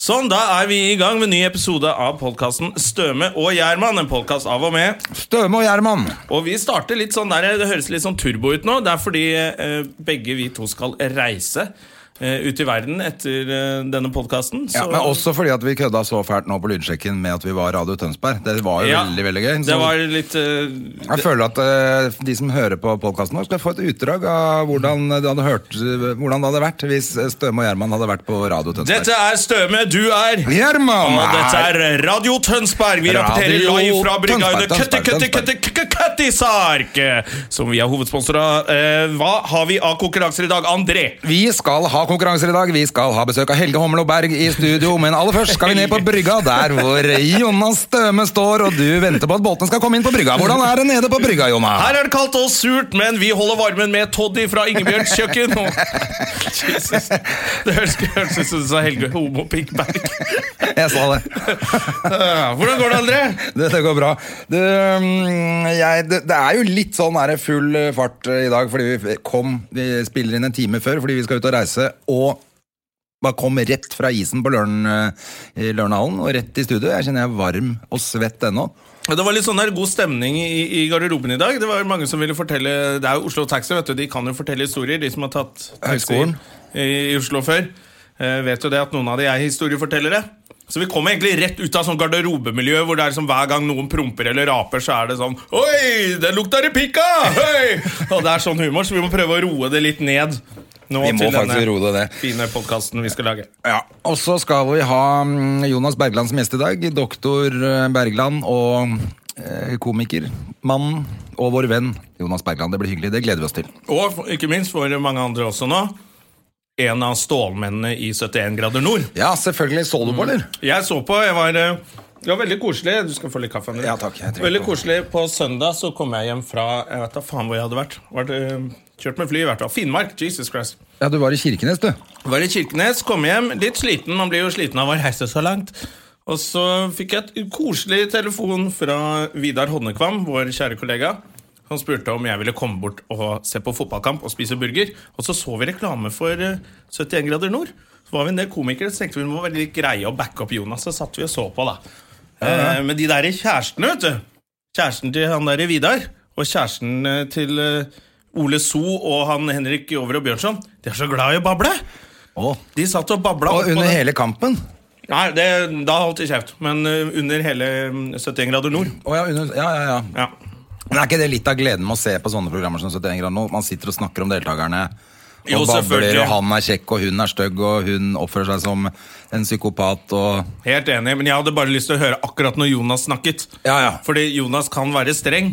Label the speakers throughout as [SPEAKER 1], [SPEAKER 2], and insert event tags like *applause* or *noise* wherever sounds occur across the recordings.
[SPEAKER 1] Sånn, da er vi i gang med en ny episode av podkasten Støme og Gjerman. En podkast av og med.
[SPEAKER 2] Støme og Gjerman.
[SPEAKER 1] Og vi starter litt sånn der, det høres litt sånn turbo ut nå. Det er fordi eh, begge vi to skal reise eh, ut i verden etter eh, denne podkasten.
[SPEAKER 2] Ja, men også fordi at vi kødda så fælt nå på lydsjekken med at vi var Radio Tønsberg. Det var jo veldig, veldig gøy.
[SPEAKER 1] Det
[SPEAKER 2] Så
[SPEAKER 1] var litt eh,
[SPEAKER 2] Jeg føler at eh, de som hører på podkasten vår, skal få et utdrag av hvordan det hadde, hørt, hvordan det hadde vært hvis Støme og Gjerman hadde vært på Radio Tønsberg.
[SPEAKER 1] Dette er Støme, du er
[SPEAKER 2] Gjerman
[SPEAKER 1] Og dette
[SPEAKER 2] er
[SPEAKER 1] er Radio Tønsberg. Vi
[SPEAKER 2] Radio
[SPEAKER 1] rapporterer live fra
[SPEAKER 2] Tønsberg,
[SPEAKER 1] Brigade
[SPEAKER 2] Tønsberg, Tønsberg.
[SPEAKER 1] Køttikøttikøttikøttisark, eh, som vi er hovedsponsor av. Eh, Hva har vi av konkurranser i dag, André?
[SPEAKER 2] Vi skal ha konkurranser i dag. Vi skal ha besøk av Helge Homlo Berg i studio. Men aller først skal vi ned på brygga, der hvor Jonas Støme står, og du venter på at båtene skal komme inn på brygga. Hvordan er det nede på brygga, Jonas?
[SPEAKER 1] Her er det kaldt og surt, men vi holder varmen med Toddy fra Ingebjørgs kjøkken. Og... Jesus. Det høres det høres ut som du sa Helge Homo Pikkberg.
[SPEAKER 2] Jeg sa det.
[SPEAKER 1] Hvordan går det, André?
[SPEAKER 2] Dette går bra. Det, mm, jeg, det, det er jo litt sånn her full eh, fart eh, i dag, fordi vi kom Vi spiller inn en time før fordi vi skal ut og reise, og bare kom rett fra isen på Løren, eh, i Lørenhallen og rett i studio. Jeg kjenner jeg er varm og svett ennå.
[SPEAKER 1] Ja, Det var litt sånn der god stemning i, i garderoben i dag. Det var mange som ville fortelle Det er jo Oslo Taxi, vet du. De kan jo fortelle historier, de som har tatt taxi
[SPEAKER 2] Høgskolen.
[SPEAKER 1] i, i Oslo før. eh, vet jo det at noen av de er historiefortellere. Så vi kommer egentlig rett ut av sånn garderobemiljø hvor det er som hver gang noen promper eller raper, så er det sånn Oi, det lukter i pikka! Hei! Og det er sånn humor, så vi må prøve å roe det litt ned. Nå
[SPEAKER 2] Vi må
[SPEAKER 1] til
[SPEAKER 2] faktisk
[SPEAKER 1] denne
[SPEAKER 2] roe det ned.
[SPEAKER 1] fine podkasten vi skal lage.
[SPEAKER 2] Ja, Og så skal vi ha mm, Jonas Bergland som gjest i dag. Doktor eh, Bergland og eh, komiker. Mannen og vår venn Jonas Bergland. Det blir hyggelig. Det gleder vi oss til.
[SPEAKER 1] Og for- ikke minst for mange andre også nå. En av stålmennene i 71 grader nord.
[SPEAKER 2] Ja, selvfølgelig. Så du på, eller?
[SPEAKER 1] Jeg så på, jeg var eh, Det var veldig koselig. Du skal få litt kaffe. André.
[SPEAKER 2] Ja, takk. Jeg trenger
[SPEAKER 1] veldig
[SPEAKER 2] ikke-
[SPEAKER 1] koselig. På søndag så kom jeg hjem fra Jeg vet da faen hvor jeg hadde vært. vært eh, kjørt med fly, i hvert fall. Finnmark. Jesus Christ.
[SPEAKER 2] Ja, du var i Kirkenes, du.
[SPEAKER 1] Var i Kirkenes, kom hjem. Litt sliten. Man blir jo sliten av å reise så langt. Og så fikk jeg et koselig telefon fra Vidar Honnekvam, vår kjære kollega. Han spurte om jeg ville komme bort og se på fotballkamp og spise burger. Og så så vi reklame for eh, 71 grader nord. Så var vi en del komikere, så tenkte vi vi må være litt greie og backe opp Jonas. Så satt vi og så på, da. Eh, Men de der kjærestene, vet du. Kjæresten til han der Vidar, og kjæresten eh, til eh, Ole So og han Henrik Over og Bjørnson, de er så glad i å bable. De satt og babla.
[SPEAKER 2] Og under hele kampen.
[SPEAKER 1] Nei, det, da holdt de kjeft. Men eh, under hele mm, 71 grader nord.
[SPEAKER 2] Å, ja, under, ja, ja, ja.
[SPEAKER 1] Ja.
[SPEAKER 2] Men er ikke det litt av gleden med å se på sånne programmer som 71 grader nå? Man sitter og snakker om deltakerne. Og
[SPEAKER 1] Jo,
[SPEAKER 2] babler,
[SPEAKER 1] selvfølgelig.
[SPEAKER 2] og han er kjekk, og hun er stygg, og hun oppfører seg som en psykopat, og
[SPEAKER 1] Helt enig, men jeg hadde bare lyst til å høre akkurat når Jonas snakket.
[SPEAKER 2] Ja, ja.
[SPEAKER 1] Fordi Jonas kan være streng,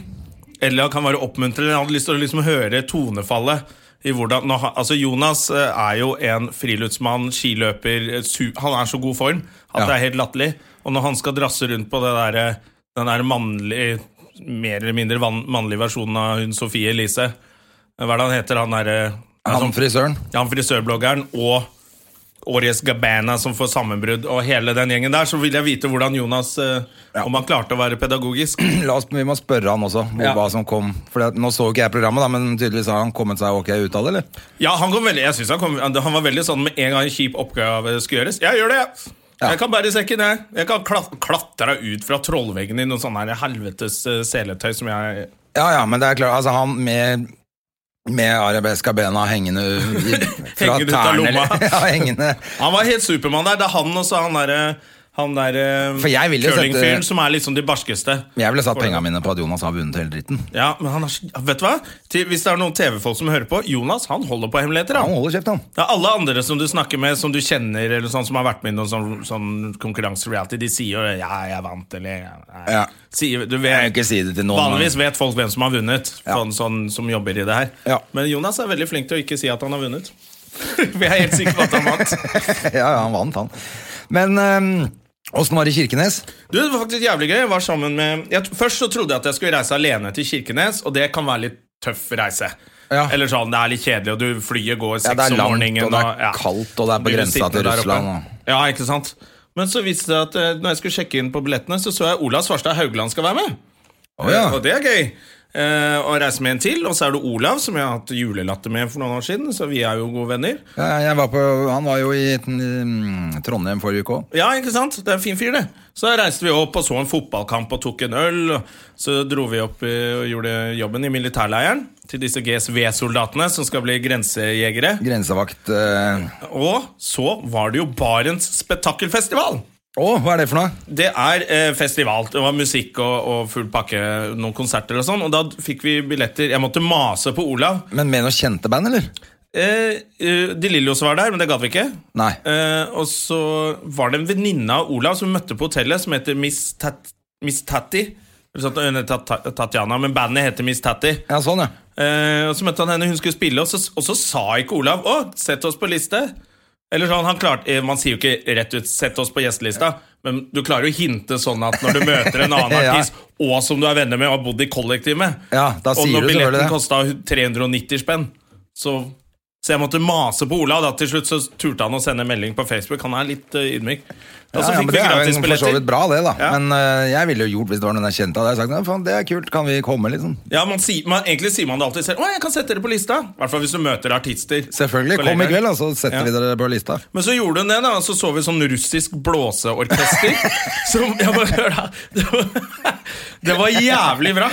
[SPEAKER 1] eller han kan være oppmuntrende. Jeg hadde lyst til å liksom høre tonefallet. I hvordan, nå, ha- altså Jonas eh, er jo en friluftsmann, skiløper. eh, Su, han er så god form at
[SPEAKER 2] Ja.
[SPEAKER 1] det er helt latterlig. Og når han skal drasse rundt på det der, eh, den der mannlige, mer eller mindre van, mannlige versjonen av hun Sofie Elise eh, Hva er det han heter? Han eh, derre
[SPEAKER 2] han frisøren. *clears throat*
[SPEAKER 1] ja, han frisørbloggeren og Årjes Gabana som får sammenbrudd, og hele den gjengen der, så vil jeg vite hvordan Jonas eh, Om han klarte å være pedagogisk.
[SPEAKER 2] La oss, vi må spørre han også hvor,
[SPEAKER 1] Ja.
[SPEAKER 2] hva som kom. For det, nå så ikke jeg programmet, da, men tydeligvis har han kommet seg ok ut av det, eller?
[SPEAKER 1] Ja, han kom veldig Jeg synes han, kom, han var veldig sånn med en gang en kjip oppgave skulle gjøres. Jeg gjør det, jeg!
[SPEAKER 2] Ja.
[SPEAKER 1] Jeg kan bære sekken, jeg. Jeg kan klat klatre ut fra trollveggen i noe sånn her helvetes eh, seletøy som jeg
[SPEAKER 2] Ja, ja, men det er klart, altså han med med arabeska bena hengende i, *laughs* fra
[SPEAKER 1] Hengende ut av
[SPEAKER 2] tærne.
[SPEAKER 1] lomma.
[SPEAKER 2] eller- *laughs* Ja, hengende.
[SPEAKER 1] Han var helt Supermann der. Det er han også, han derre han der eh,
[SPEAKER 2] For jeg ville sette-
[SPEAKER 1] curlingfyren som er liksom de barskeste.
[SPEAKER 2] Jeg ville satt
[SPEAKER 1] Hvordan-
[SPEAKER 2] penga mine på at Jonas har vunnet hele dritten.
[SPEAKER 1] Ja, men han er, så- ja, vet du hva? Til, hvis det er noen TV-folk som hører på, Jonas han holder på hemmeligheter.
[SPEAKER 2] Han
[SPEAKER 1] Han.
[SPEAKER 2] holder kjeft, han.
[SPEAKER 1] Ja, alle andre som du snakker med, som du kjenner, eller sånn, som har vært med i noen sånn, sånn konkurranse-reality, de sier jo 'ja, jeg vant', eller ja,
[SPEAKER 2] Ja.
[SPEAKER 1] Sier,
[SPEAKER 2] Jeg
[SPEAKER 1] du
[SPEAKER 2] vil
[SPEAKER 1] vet,
[SPEAKER 2] ikke si det til noen.
[SPEAKER 1] Vanligvis vet folk hvem som har vunnet,
[SPEAKER 2] Ja.
[SPEAKER 1] sånn, sånn som jobber i det her.
[SPEAKER 2] Ja.
[SPEAKER 1] Men Jonas er *laughs*
[SPEAKER 2] *laughs*
[SPEAKER 1] veldig flink til å ikke si at han har vunnet. Vi er helt sikre på at han vant.
[SPEAKER 2] ja, ja, han vant, han. Men åssen var det i Kirkenes?
[SPEAKER 1] Du, det var faktisk jævlig gøy. Jeg var sammen med jeg, Først så trodde jeg at jeg skulle reise alene til Kirkenes, og det kan være litt tøff reise.
[SPEAKER 2] Ja.
[SPEAKER 1] Eller sånn, det er litt kjedelig, og du flyet går
[SPEAKER 2] Ja,
[SPEAKER 1] seks
[SPEAKER 2] det er
[SPEAKER 1] om
[SPEAKER 2] langt,
[SPEAKER 1] morgenen.
[SPEAKER 2] og det er kaldt, og det er på
[SPEAKER 1] Blir du
[SPEAKER 2] grensa til
[SPEAKER 1] sittende der
[SPEAKER 2] Russland,
[SPEAKER 1] oppe.
[SPEAKER 2] og-
[SPEAKER 1] Ja, ikke sant? Men så viste det seg at eh, når jeg skulle sjekke inn på billettene, så så jeg Ola Svarstad Haugland skal være med.
[SPEAKER 2] Å, ja.
[SPEAKER 1] Eh, Og det er gøy. Eh, og reise med en til. Og så er det Olav, som jeg har hatt julelatter med for noen år siden. Så vi er jo gode venner.
[SPEAKER 2] Ja, Jeg var på, han var jo i mm, Trondheim forrige uke òg.
[SPEAKER 1] Ja, ikke sant? Det er en fin fyr, det. Så reiste vi opp og så en fotballkamp og tok en øl. Så dro vi opp eh, og gjorde jobben i militærleiren til disse GSV-soldatene som skal bli grensejegere.
[SPEAKER 2] Grensevakt eh.
[SPEAKER 1] Og så var det jo Barents spetakkelfestival!
[SPEAKER 2] Å, hva er det for noe?
[SPEAKER 1] Det er eh, festival. Det var musikk og, og full pakke, noen konserter og sånn. Og da fikk vi billetter. Jeg måtte mase på Olav.
[SPEAKER 2] Men med noe kjente band, eller?
[SPEAKER 1] Eh, eh, De Lillos var der, men det gadd vi ikke.
[SPEAKER 2] Nei.
[SPEAKER 1] Eh, og så var det en venninne av Olav som vi møtte på hotellet, som heter Miss, Tat Miss Tatti. Eller sånn, eh, Tat Tatiana, men bandet heter Miss Tatti.
[SPEAKER 2] Ja, sånn, ja.
[SPEAKER 1] Eh, og så møtte han henne, hun skulle spille, og så, og så sa ikke Olav 'Å, sett oss på liste'. Eller sånn, han klarte, eh, Man sier jo ikke rett ut 'sett oss på gjestelista', men du klarer jo å hinte sånn at når du
[SPEAKER 2] *laughs*
[SPEAKER 1] møter en annen
[SPEAKER 2] Ja.
[SPEAKER 1] artist, og som du er venner med og har bodd i kollektiv med
[SPEAKER 2] Ja, da
[SPEAKER 1] Og
[SPEAKER 2] sier du
[SPEAKER 1] når
[SPEAKER 2] selvfølgelig det.
[SPEAKER 1] billetten kosta 390 spenn, så så jeg måtte mase på Olav. Da. Til slutt så turte han å sende en melding på Facebook. Han er litt eh, ydmyk. Og så
[SPEAKER 2] Ja, ja,
[SPEAKER 1] fikk
[SPEAKER 2] men
[SPEAKER 1] vi
[SPEAKER 2] det er jo
[SPEAKER 1] gratis
[SPEAKER 2] for så
[SPEAKER 1] billetter.
[SPEAKER 2] vidt bra, det, da.
[SPEAKER 1] Ja.
[SPEAKER 2] Men eh, jeg ville jo gjort hvis det var noen jeg kjente. Hadde jeg sagt ja, faen, det er kult, kan vi komme, liksom.
[SPEAKER 1] Ja, man sier, man, Egentlig sier man det alltid selv. Å, jeg kan sette dere på lista. I hvert fall hvis du møter artister.
[SPEAKER 2] Selvfølgelig. Kom i
[SPEAKER 1] Kollegaer.
[SPEAKER 2] kveld, da, så setter
[SPEAKER 1] Ja.
[SPEAKER 2] vi dere på lista.
[SPEAKER 1] Men så gjorde hun det, da, og så så vi sånn russisk blåseorkester. som, jeg bare, hør da, det, var, det var jævlig bra!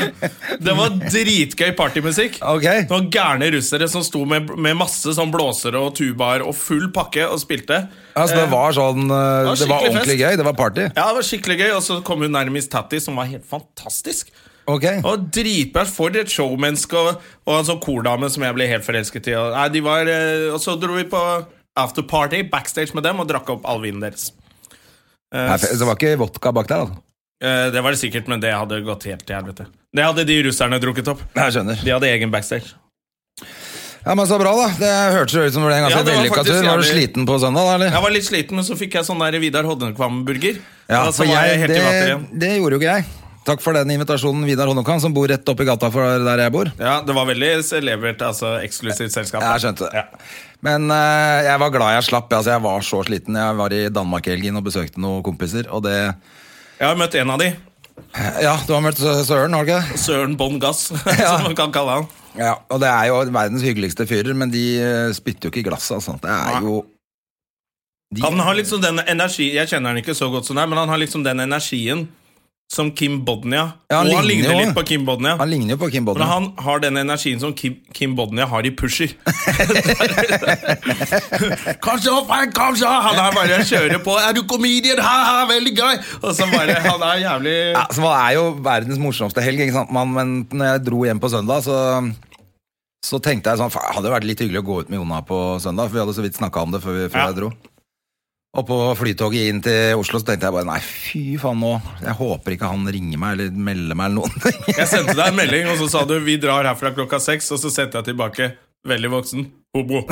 [SPEAKER 1] Det var dritgøy partymusikk.
[SPEAKER 2] Ok.
[SPEAKER 1] Det var gærne russere som sto med, med masse sånn blåsere og tubaer og full pakke og spilte.
[SPEAKER 2] Altså, det var sånn eh,
[SPEAKER 1] var
[SPEAKER 2] Det var
[SPEAKER 1] skikkelig
[SPEAKER 2] ordentlig
[SPEAKER 1] fest.
[SPEAKER 2] gøy. Det var party.
[SPEAKER 1] Ja, det var skikkelig gøy, og så kom hun nærmest Tatti, som var helt fantastisk.
[SPEAKER 2] Ok.
[SPEAKER 1] Det var dritbra for et showmenneske og, og en sånn kordame som jeg ble helt forelsket i. Og, nei, de var, eh, og så dro vi på afterparty backstage med dem og drakk opp all vinen deres. Eh,
[SPEAKER 2] Nei, det var ikke vodka bak der, altså.
[SPEAKER 1] eh, det var det sikkert, men det hadde gått helt til helvete. Det hadde de russerne drukket opp.
[SPEAKER 2] Nei, Jeg skjønner.
[SPEAKER 1] De hadde egen backstage.
[SPEAKER 2] Ja, men Så bra, da. Det hørtes jo ut som det ble en
[SPEAKER 1] Ja,
[SPEAKER 2] ganske
[SPEAKER 1] det var
[SPEAKER 2] vellykka
[SPEAKER 1] faktisk
[SPEAKER 2] tur. Var du
[SPEAKER 1] jævlig-
[SPEAKER 2] sliten på søndag, da? eller?
[SPEAKER 1] Jeg var litt sliten, men så fikk jeg sånn der Vidar Hodnekvam-burger.
[SPEAKER 2] Ja,
[SPEAKER 1] og så
[SPEAKER 2] for
[SPEAKER 1] var jeg
[SPEAKER 2] jeg,
[SPEAKER 1] helt i vater
[SPEAKER 2] det,
[SPEAKER 1] igjen.
[SPEAKER 2] det gjorde jo ikke jeg. Takk for den invitasjonen, Vidar Honnokan, som bor rett oppi gata for der jeg bor.
[SPEAKER 1] Ja, det var veldig celebert, altså eksklusivt selskap.
[SPEAKER 2] Jeg skjønte det.
[SPEAKER 1] Ja.
[SPEAKER 2] Men eh, jeg var glad jeg slapp. Altså, jeg var så sliten. Jeg var i Danmark i helgen og besøkte noen kompiser, og det
[SPEAKER 1] Jeg har møtt en av de.
[SPEAKER 2] Ja, du har møtt Sø- Søren, har du ikke det?
[SPEAKER 1] Søren Bånn Gass, *laughs*
[SPEAKER 2] Ja.
[SPEAKER 1] som man kan kalle han.
[SPEAKER 2] Ja, og det er jo verdens hyggeligste fyrer, men de eh, spytter jo ikke i glasset. Altså. Det er jo de,
[SPEAKER 1] Han har liksom den energi Jeg kjenner han ikke så godt som deg, men han har liksom den energien som Kim Bodnia.
[SPEAKER 2] Ja, han
[SPEAKER 1] og han
[SPEAKER 2] ligner
[SPEAKER 1] ligner
[SPEAKER 2] jo.
[SPEAKER 1] litt på Kim Bodnia.
[SPEAKER 2] Han ligner jo på Kim
[SPEAKER 1] Men
[SPEAKER 2] Bodden.
[SPEAKER 1] han har den energien som Kim, Kim Bodnia har i Pusher.
[SPEAKER 2] *laughs*
[SPEAKER 1] kom så, Frank, kom så! Han er bare kjører på. Er du comedian? Ha, ha, veldig gøy! Og så bare, Han er jævlig
[SPEAKER 2] Ja, så man er jo verdens morsomste helg, ikke sant? Man, men når jeg dro hjem på søndag, så, så tenkte jeg sånn "Faen, Hadde det vært litt hyggelig å gå ut med Jona på søndag, for vi hadde så vidt snakka om det før, vi, før
[SPEAKER 1] Ja.
[SPEAKER 2] jeg dro. Og på flytoget inn til Oslo så tenkte jeg bare nei, fy faen nå. Jeg håper ikke han ringer meg eller melder meg eller noen ting. *laughs*
[SPEAKER 1] Jeg sendte deg en melding, og så sa du 'vi drar herfra klokka seks', og så sendte jeg tilbake 'veldig voksen'. Hobo.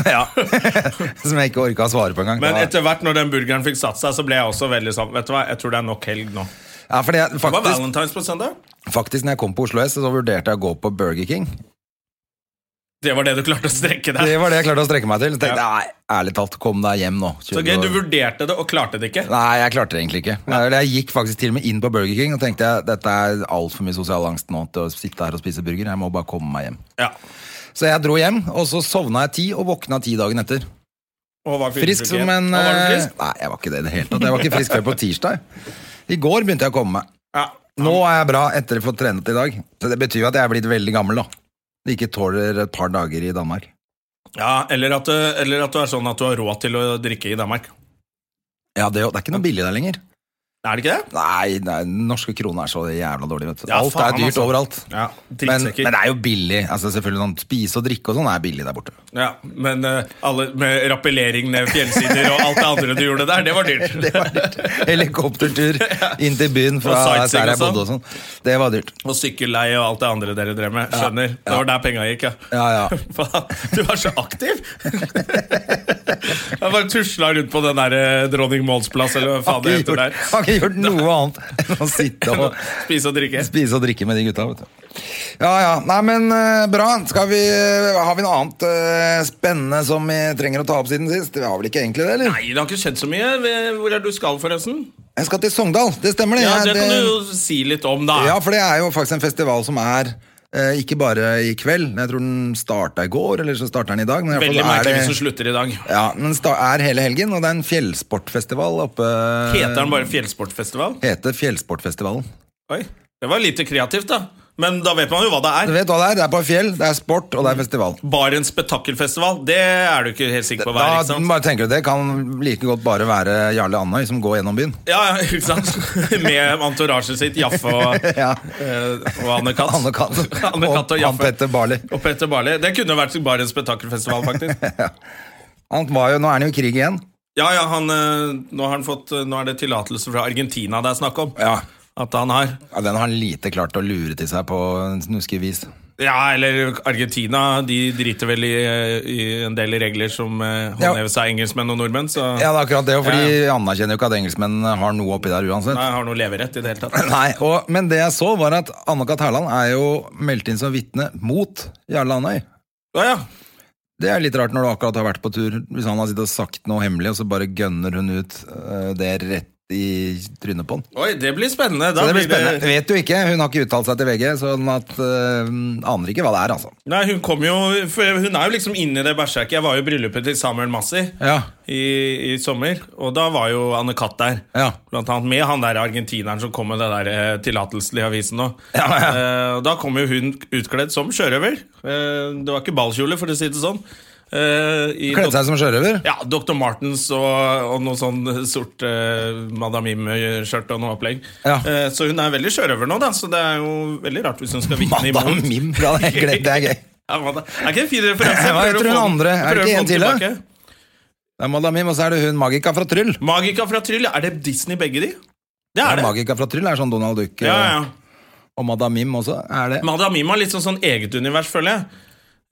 [SPEAKER 2] Som jeg ikke orka å svare på engang. Det
[SPEAKER 1] Men
[SPEAKER 2] var-
[SPEAKER 1] etter hvert når den burgeren fikk satt seg, så ble jeg også veldig sånn Vet du hva, jeg tror det er nok helg nå.
[SPEAKER 2] Ja, fordi jeg,
[SPEAKER 1] Det var
[SPEAKER 2] faktisk,
[SPEAKER 1] Valentine's på søndag.
[SPEAKER 2] faktisk, når jeg kom på Oslo S, så vurderte jeg å gå på Burger King.
[SPEAKER 1] Det var det du klarte å strekke
[SPEAKER 2] Det
[SPEAKER 1] deg.
[SPEAKER 2] var det jeg klarte å strekke meg til. Så tenkte
[SPEAKER 1] Ja.
[SPEAKER 2] jeg, nei, ærlig talt, kom deg hjem nå.
[SPEAKER 1] Så gøy, du vurderte det og klarte det ikke.
[SPEAKER 2] Nei, jeg klarte det egentlig ikke. Eller Jeg gikk faktisk til og med inn på Burger King og tenkte jeg, dette er altfor mye sosial angst nå til å sitte her og spise burger. Jeg må bare komme meg hjem.
[SPEAKER 1] Ja.
[SPEAKER 2] Så jeg dro hjem, og så sovna jeg ti og våkna ti dagen etter.
[SPEAKER 1] Og var fyren
[SPEAKER 2] Frisk
[SPEAKER 1] sjuk igjen.
[SPEAKER 2] som en
[SPEAKER 1] Og var du
[SPEAKER 2] eh,
[SPEAKER 1] frisk?
[SPEAKER 2] Nei, jeg var ikke det i det hele tatt. Jeg var ikke frisk før på tirsdag. I går begynte jeg å komme meg.
[SPEAKER 1] Ja.
[SPEAKER 2] Nå er jeg bra etter å få trent i dag. Så det betyr jo at jeg er blitt veldig gammel, da. Ikke tåler et par dager i Danmark.
[SPEAKER 1] ja eller, at du, eller at du er sånn at du har råd til å drikke i Danmark.
[SPEAKER 2] Ja, det, er jo- det er ikke noe billig der lenger.
[SPEAKER 1] Er det ikke det?
[SPEAKER 2] Nei, nei, den norske krona er så jævla dårlig, vet du.
[SPEAKER 1] Ja,
[SPEAKER 2] Alt
[SPEAKER 1] faen,
[SPEAKER 2] er dyrt
[SPEAKER 1] altså.
[SPEAKER 2] overalt.
[SPEAKER 1] Ja,
[SPEAKER 2] men,
[SPEAKER 1] drittsekker.
[SPEAKER 2] men det er jo billig. Altså selvfølgelig sånn Spise og drikke og sånn er billig der borte. *laughs*
[SPEAKER 1] Ja, Men eh, alle med rappellering ned fjellsider og alt det andre du gjorde der, det var dyrt.
[SPEAKER 2] *laughs* Det var dyrt.
[SPEAKER 1] *laughs*
[SPEAKER 2] Helikoptertur inn til byen fra
[SPEAKER 1] Og sightseeing
[SPEAKER 2] der jeg
[SPEAKER 1] og
[SPEAKER 2] bodde og sånn. Det var dyrt.
[SPEAKER 1] Og sykkelleie og alt det andre dere drev med. Skjønner. Det var der penga gikk, ja.
[SPEAKER 2] Ja, ja.
[SPEAKER 1] *laughs* Faen, du var så aktiv! *laughs* Jeg bare tusla rundt på den der eh, Dronning Mauds plass, eller hva faen
[SPEAKER 2] Har
[SPEAKER 1] det
[SPEAKER 2] ikke
[SPEAKER 1] heter
[SPEAKER 2] gjort,
[SPEAKER 1] der.
[SPEAKER 2] har ikke
[SPEAKER 1] *laughs*
[SPEAKER 2] gjort noe annet enn å sitte og
[SPEAKER 1] Spise og drikke.
[SPEAKER 2] spise og drikke med de gutta, vet du. Ja, ja. Nei, men eh, bra. Skal vi, har vi noe annet eh, spennende som vi trenger å ta opp siden sist? Vi har vel ikke egentlig det, eller?
[SPEAKER 1] Nei, det har ikke skjedd så mye. Hvor er du skal, forresten?
[SPEAKER 2] Jeg skal til Sogndal, det stemmer det.
[SPEAKER 1] Ja,
[SPEAKER 2] Jeg-
[SPEAKER 1] Det kan du jo si litt om, da.
[SPEAKER 2] Ja, for det er jo faktisk en festival som er eh, ikke bare i kveld. Jeg tror den starta i går, eller så starter den i dag. Men i hvert fall
[SPEAKER 1] Veldig merkelig
[SPEAKER 2] er
[SPEAKER 1] hvis
[SPEAKER 2] det-
[SPEAKER 1] du slutter i dag.
[SPEAKER 2] Ja, men sta- er hele helgen, og det er en fjellsportfestival oppe
[SPEAKER 1] Heter den bare Fjellsportfestival?
[SPEAKER 2] Heter Fjellsportfestivalen.
[SPEAKER 1] Oi, Det var lite kreativt, da. Men da vet man jo hva det
[SPEAKER 2] Du
[SPEAKER 1] er.
[SPEAKER 2] vet hva det er? Det er på fjell, det er sport, og det er festival.
[SPEAKER 1] Barents spetakkelfestival, det er du ikke helt sikker på hva er.
[SPEAKER 2] Da
[SPEAKER 1] ikke sant?
[SPEAKER 2] bare tenker du Det kan like godt bare være Jarle Andøy som går gjennom byen. *laughs*
[SPEAKER 1] Ja, ja, ikke sant? *laughs* Med entorasjet sitt, Jaffe
[SPEAKER 2] *laughs*
[SPEAKER 1] og,
[SPEAKER 2] Ja.
[SPEAKER 1] eh, og Anne Katt.
[SPEAKER 2] Anne Katt
[SPEAKER 1] *laughs* Anne
[SPEAKER 2] og
[SPEAKER 1] Katt og
[SPEAKER 2] han
[SPEAKER 1] Jaffe.
[SPEAKER 2] Petter Barli.
[SPEAKER 1] Og Petter Barli. Det kunne vært bare en spetakkelfestival, faktisk.
[SPEAKER 2] Han var jo, nå er han jo i krig igjen.
[SPEAKER 1] Ja, ja, han, eh, nå, har han fått, eh, nå er det tillatelse fra Argentina det er snakk om.
[SPEAKER 2] Ja.
[SPEAKER 1] At han har.
[SPEAKER 2] Ja, Den har han lite klart å lure til seg på snuskevis.
[SPEAKER 1] Ja, eller Argentina, de driter vel i, eh, i en del regler som eh,
[SPEAKER 2] Ja.
[SPEAKER 1] håndheves av engelskmenn og nordmenn, så
[SPEAKER 2] Ja, det er akkurat det, og fordi
[SPEAKER 1] Ja,
[SPEAKER 2] anerkjenner jo ikke at engelskmennene har noe oppi der uansett.
[SPEAKER 1] Nei, har noe leverett i det hele tatt.
[SPEAKER 2] *laughs* Nei, og, Men det jeg så, var at Anne-Kat. Hærland er jo meldt inn som vitne mot Jarle Andøy.
[SPEAKER 1] Ja, ja.
[SPEAKER 2] Det er litt rart når du akkurat har vært på tur. Hvis han har sittet og sagt noe hemmelig, og så bare gønner hun ut øh, det rett i trynet på han.
[SPEAKER 1] Oi, det blir spennende. Da
[SPEAKER 2] Så det blir spennende.
[SPEAKER 1] det
[SPEAKER 2] Vet jo ikke, hun har ikke uttalt seg til VG, så sånn at øh, aner ikke hva det er, altså.
[SPEAKER 1] Nei, hun kom jo for Hun er jo liksom inne i det bæsjaket. Jeg var jo i bryllupet til Samuel Massi
[SPEAKER 2] Ja.
[SPEAKER 1] i, i sommer, og da var jo Anne Katt der.
[SPEAKER 2] Ja.
[SPEAKER 1] Blant annet med han der argentineren som kom med det der eh, tillatelsen i avisen nå.
[SPEAKER 2] Ja, ja.
[SPEAKER 1] Eh, og da kom jo hun utkledd som sjørøver. Eh, det var ikke ballkjole, for å si det sånn. Eh, i
[SPEAKER 2] Kledde seg sånn. som sjørøver.
[SPEAKER 1] ja, Dr. Martens og, og noe sånn sort eh, Madame Mim-skjørt og noe opplegg.
[SPEAKER 2] Ja.
[SPEAKER 1] Eh, så hun er veldig sjørøver nå, da, så det er jo veldig rart hvis hun skal vitne
[SPEAKER 2] Madame
[SPEAKER 1] imot.
[SPEAKER 2] Mim, ja, det er gøy. Det er
[SPEAKER 1] *laughs*
[SPEAKER 2] gøy.
[SPEAKER 1] Ja, hva da? Er ikke det en fin
[SPEAKER 2] Hva
[SPEAKER 1] referanse? Prøver å
[SPEAKER 2] heter hun
[SPEAKER 1] få den-
[SPEAKER 2] andre? Er det
[SPEAKER 1] prøver å
[SPEAKER 2] ikke
[SPEAKER 1] få
[SPEAKER 2] en
[SPEAKER 1] den
[SPEAKER 2] til, da?
[SPEAKER 1] tilbake.
[SPEAKER 2] Det er Madame Mim, og så er det hun Magica fra Tryll.
[SPEAKER 1] Magika fra Tryll, er det Disney begge de? Det er
[SPEAKER 2] Ja,
[SPEAKER 1] det.
[SPEAKER 2] Magica fra Tryll er sånn Donald Duck
[SPEAKER 1] Ja, ja.
[SPEAKER 2] og Madame Mim også. Er det?
[SPEAKER 1] Madame Mim har litt sånn, sånn eget univers, føler jeg.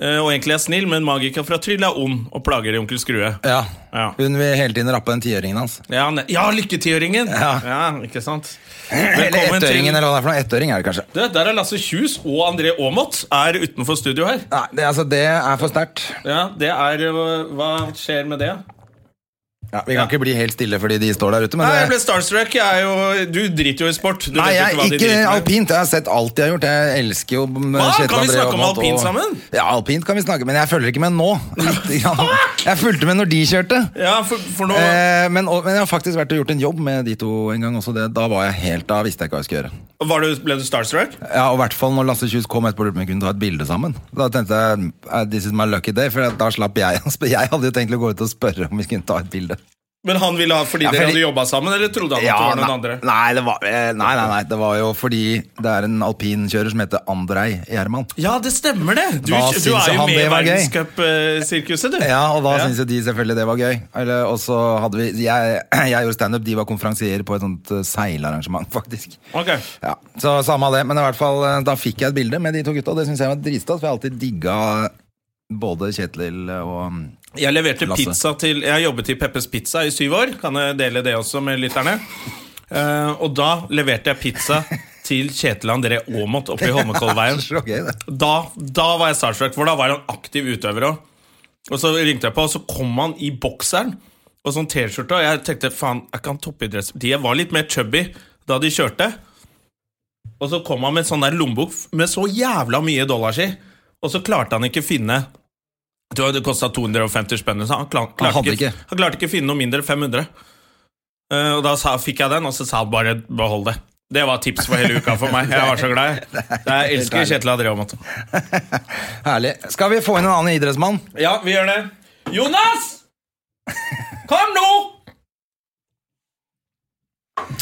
[SPEAKER 1] Eh, og egentlig er snill, men Magika fra Tryll er ond og plager onkel Skrue.
[SPEAKER 2] Ja.
[SPEAKER 1] Ja.
[SPEAKER 2] Hun vil hele tiden rappe den tiøringen hans.
[SPEAKER 1] Ja, ne- ja lykketiåringen!
[SPEAKER 2] Ja.
[SPEAKER 1] ikke sant?
[SPEAKER 2] Eller
[SPEAKER 1] Velkommen
[SPEAKER 2] ettøringen,
[SPEAKER 1] til
[SPEAKER 2] eller hva det er for noe. Ettøring er det kanskje.
[SPEAKER 1] du, Der er Lasse Kjus og André Aamodt er utenfor studio her.
[SPEAKER 2] Nei, det, altså, det er for sterkt.
[SPEAKER 1] Ja, det er eh, Hva skjer med det?
[SPEAKER 2] Ja, vi kan ikke bli helt stille fordi de står der ute, men
[SPEAKER 1] Nei, jeg ble
[SPEAKER 2] det
[SPEAKER 1] starstruck. Jeg er jo, du driter jo i sport. Du
[SPEAKER 2] Nei,
[SPEAKER 1] vet jo
[SPEAKER 2] jeg,
[SPEAKER 1] hva de
[SPEAKER 2] ikke
[SPEAKER 1] driter med.
[SPEAKER 2] alpint. Jeg har sett alt de har gjort. Jeg elsker jo mm,
[SPEAKER 1] Hva?
[SPEAKER 2] Kjetil
[SPEAKER 1] Kan vi
[SPEAKER 2] André
[SPEAKER 1] snakke om
[SPEAKER 2] Aamodt
[SPEAKER 1] alpint
[SPEAKER 2] og-
[SPEAKER 1] sammen?
[SPEAKER 2] Ja, alpint kan vi snakke, men jeg følger ikke med nå. *laughs* Litt grann. Jeg fulgte med når de kjørte.
[SPEAKER 1] Ja, for, for nå
[SPEAKER 2] Eh, men, og, men jeg har faktisk vært og gjort en jobb med de to en gang også. Det, da var jeg helt, da visste jeg ikke hva jeg skulle gjøre.
[SPEAKER 1] var du, Ble du starstruck?
[SPEAKER 2] Ja, og i hvert fall når Lasse Kjus kom etterpå og lurte på om vi kunne ta et bilde sammen. Da tenkte jeg eh, this is my lucky day, for da slapp jeg å spørre. Jeg hadde jo tenkt å gå ut og spørre om vi kunne ta et bilde.
[SPEAKER 1] Men han ville ha fordi
[SPEAKER 2] Ja,
[SPEAKER 1] dere
[SPEAKER 2] fordi-
[SPEAKER 1] hadde jobba sammen, eller trodde han at det var noen
[SPEAKER 2] nei,
[SPEAKER 1] andre?
[SPEAKER 2] nei, det var, eh, nei, nei, nei, det var jo fordi det er en alpinkjører som heter Andrej Gjerman.
[SPEAKER 1] Ja, det stemmer, det! Du,
[SPEAKER 2] Hva
[SPEAKER 1] du
[SPEAKER 2] syns
[SPEAKER 1] er jo
[SPEAKER 2] han
[SPEAKER 1] med i
[SPEAKER 2] det var gøy?
[SPEAKER 1] verdenscupsirkuset, du.
[SPEAKER 2] Ja, og da
[SPEAKER 1] Ja.
[SPEAKER 2] syntes jo de selvfølgelig det var gøy. Eller, og så hadde vi Jeg, *clears throat* jeg gjorde standup, de var konferansierer på et sånt eh, seilarrangement, faktisk.
[SPEAKER 1] Ok.
[SPEAKER 2] Ja, så samme av det, men i hvert fall eh, da fikk jeg et bilde med de to gutta. Det syns jeg var dritstas, for jeg har alltid digga både Kjetil og mm,
[SPEAKER 1] Jeg leverte
[SPEAKER 2] Lasse.
[SPEAKER 1] pizza til Jeg jobbet i Peppes Pizza i syv år. Kan jeg dele det også med lytterne? Eh, og da leverte jeg pizza til Kjetil André Aamodt oppe i Holmenkollveien.
[SPEAKER 2] Så gøy, det.
[SPEAKER 1] da, da var jeg starstruck, for da var han aktiv utøver òg. Og så ringte jeg på, og så kom han i bokseren og sånn T-skjorte. Og jeg tenkte faen, er ikke han toppidretts... De var litt mer chubby da de kjørte. Og så kom han med en sånn der lommebok med så jævla mye dollars i, og så klarte han ikke finne jeg tror det kosta 250 spenn. Så han, klar, klarte
[SPEAKER 2] hadde
[SPEAKER 1] ikke,
[SPEAKER 2] ikke.
[SPEAKER 1] han klarte ikke å finne noe mindre enn 500. Eh, og da sa, fikk jeg den, og så sa han bare 'behold det'. Det var tips for hele uka for meg. Jeg var så
[SPEAKER 2] *laughs*
[SPEAKER 1] glad. Jeg, jeg elsker Kjetil André Aamodt.
[SPEAKER 2] Herlig. Skal vi få inn en annen idrettsmann?
[SPEAKER 1] Ja, vi gjør det. Jonas! Kom nå!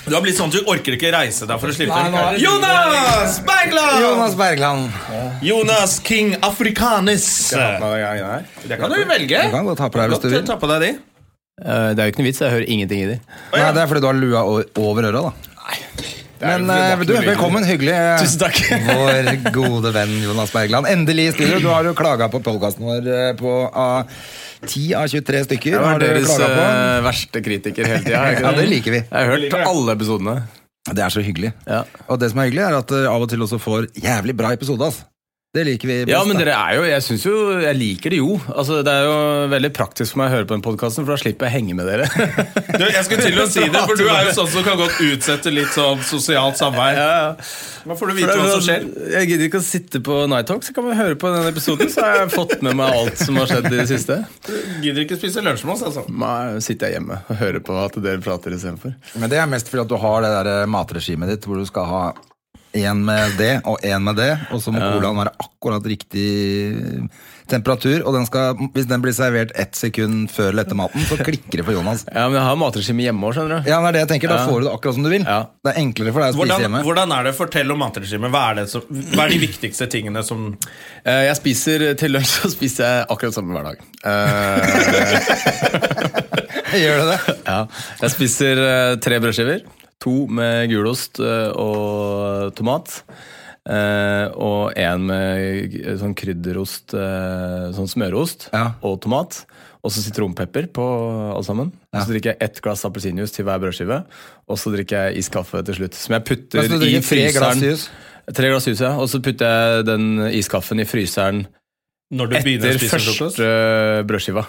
[SPEAKER 1] Du har blitt sånn at du orker ikke reise deg for å slippe
[SPEAKER 2] Nei, nå er det-
[SPEAKER 1] Jonas Bergland!
[SPEAKER 2] Jonas Bergland.
[SPEAKER 1] Jonas King Afrikanes.
[SPEAKER 2] Du
[SPEAKER 1] Det kan du velge.
[SPEAKER 2] kan godt ha på deg hvis du vil.
[SPEAKER 1] ta på deg de.
[SPEAKER 3] Eh, det er jo ikke noe vits, jeg hører ingenting i de.
[SPEAKER 2] Nei, det er fordi du har lua o- over øra, da. Men eh, du, velkommen. Hyggelig. eh,
[SPEAKER 3] Tusen takk.
[SPEAKER 2] *laughs* Vår gode venn Jonas Bergland. Endelig i studio. Du har jo klaga på podkasten vår eh, på ah, 10 av 23 stykker.
[SPEAKER 3] Jeg
[SPEAKER 2] Har
[SPEAKER 3] var
[SPEAKER 2] du
[SPEAKER 3] deres
[SPEAKER 2] klaga på?
[SPEAKER 3] eh, verste kritiker hele tida.
[SPEAKER 2] Ja, det liker vi.
[SPEAKER 3] Jeg har hørt alle episodene.
[SPEAKER 2] Det er så hyggelig.
[SPEAKER 3] Ja.
[SPEAKER 2] Og det som er hyggelig, er at dere av og til også får jævlig bra episode, ass. Det liker vi best.
[SPEAKER 3] Ja, men
[SPEAKER 2] da.
[SPEAKER 3] dere er jo Jeg synes jo Jeg liker det jo. Altså, det er jo veldig praktisk for meg å høre på den podkasten, for da slipper jeg henge med *laughs* dere.
[SPEAKER 1] Du, jeg skulle til å
[SPEAKER 2] *laughs*
[SPEAKER 1] si det, for du er jo sånn som kan godt utsette litt sånn sosialt samvær. Da får du vite hva som skjer.
[SPEAKER 3] Jeg gidder ikke å sitte på Night Talk, så kan vi høre på den episoden. Så har jeg fått med meg alt som har skjedd i det siste.
[SPEAKER 1] Gidder ikke spise lunsj med oss, altså.
[SPEAKER 3] Nå sitter jeg hjemme og hører på at dere prater istedenfor.
[SPEAKER 2] Men det er mest fordi at du har det der eh, matregimet ditt hvor du skal ha én med det og én med det, og så må colaen være akkurat riktig eh, temperatur. Og den skal, hvis den blir servert ett sekund før eller etter maten, så klikker det for Jonas.
[SPEAKER 3] Ja, men jeg har matregime hjemme òg, skjønner du.
[SPEAKER 2] Ja, det er det jeg tenker. Da får du det akkurat som du vil.
[SPEAKER 3] Ja.
[SPEAKER 2] Det er enklere for deg å spise
[SPEAKER 1] Hvordan,
[SPEAKER 2] hjemme.
[SPEAKER 1] hvordan er det? Fortell om matregimet. Hva, er det som- hva er de viktigste tingene som
[SPEAKER 3] Eh, Jeg spiser til lunsj, så spiser jeg akkurat samme hver dag. Eh,
[SPEAKER 2] *laughs* Gjør du
[SPEAKER 3] *laughs*
[SPEAKER 2] det?
[SPEAKER 3] Ja. Jeg spiser eh, tre brødskiver. To med gulost eh, og tomat. Eh, og én med g- sånn krydderost, eh, sånn smørost
[SPEAKER 2] Ja.
[SPEAKER 3] og tomat. Og så sitronpepper på alle sammen. Og Så drikker jeg ett glass appelsinjuice til hver brødskive. Og så drikker jeg iskaffe til slutt, som jeg putter
[SPEAKER 2] Men så du
[SPEAKER 3] i
[SPEAKER 2] drikker tre glass
[SPEAKER 3] fryseren.
[SPEAKER 2] jus?
[SPEAKER 3] Tre glass jus, ja. Og så putter jeg den iskaffen i fryseren
[SPEAKER 1] Når du begynner å
[SPEAKER 3] etter
[SPEAKER 1] spise frokost?
[SPEAKER 3] første brødskiva.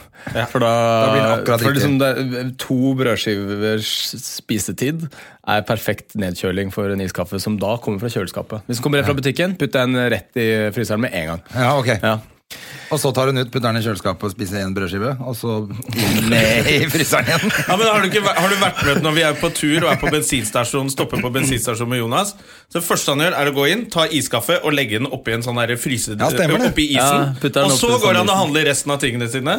[SPEAKER 3] For da,
[SPEAKER 2] Da blir det akkurat riktig.
[SPEAKER 3] for liksom det, To brødskivers spisetid er perfekt nedkjøling for en iskaffe som da kommer fra kjøleskapet. Hvis den kommer rett fra butikken, putt den rett i fryseren med en gang.
[SPEAKER 2] Ja, ok.
[SPEAKER 3] Ja.
[SPEAKER 2] Og så tar hun ut, putter den i kjøleskapet og spiser en brødskive, og så ned i fryseren igjen.
[SPEAKER 1] Ja, men har, du ikke, vært- har du vært med når vi er på tur og er på bensinstasjonen, stopper på bensinstasjonen med Jonas? Så Det første han gjør, er å gå inn, ta iskaffe og legge den oppi en sånn der fryse...
[SPEAKER 2] Ja, stemmer det.
[SPEAKER 1] oppi
[SPEAKER 3] Ja,
[SPEAKER 1] isen.
[SPEAKER 3] putter den
[SPEAKER 1] og
[SPEAKER 3] oppi
[SPEAKER 1] så går han og
[SPEAKER 3] sandisen.
[SPEAKER 1] handler resten av tingene sine.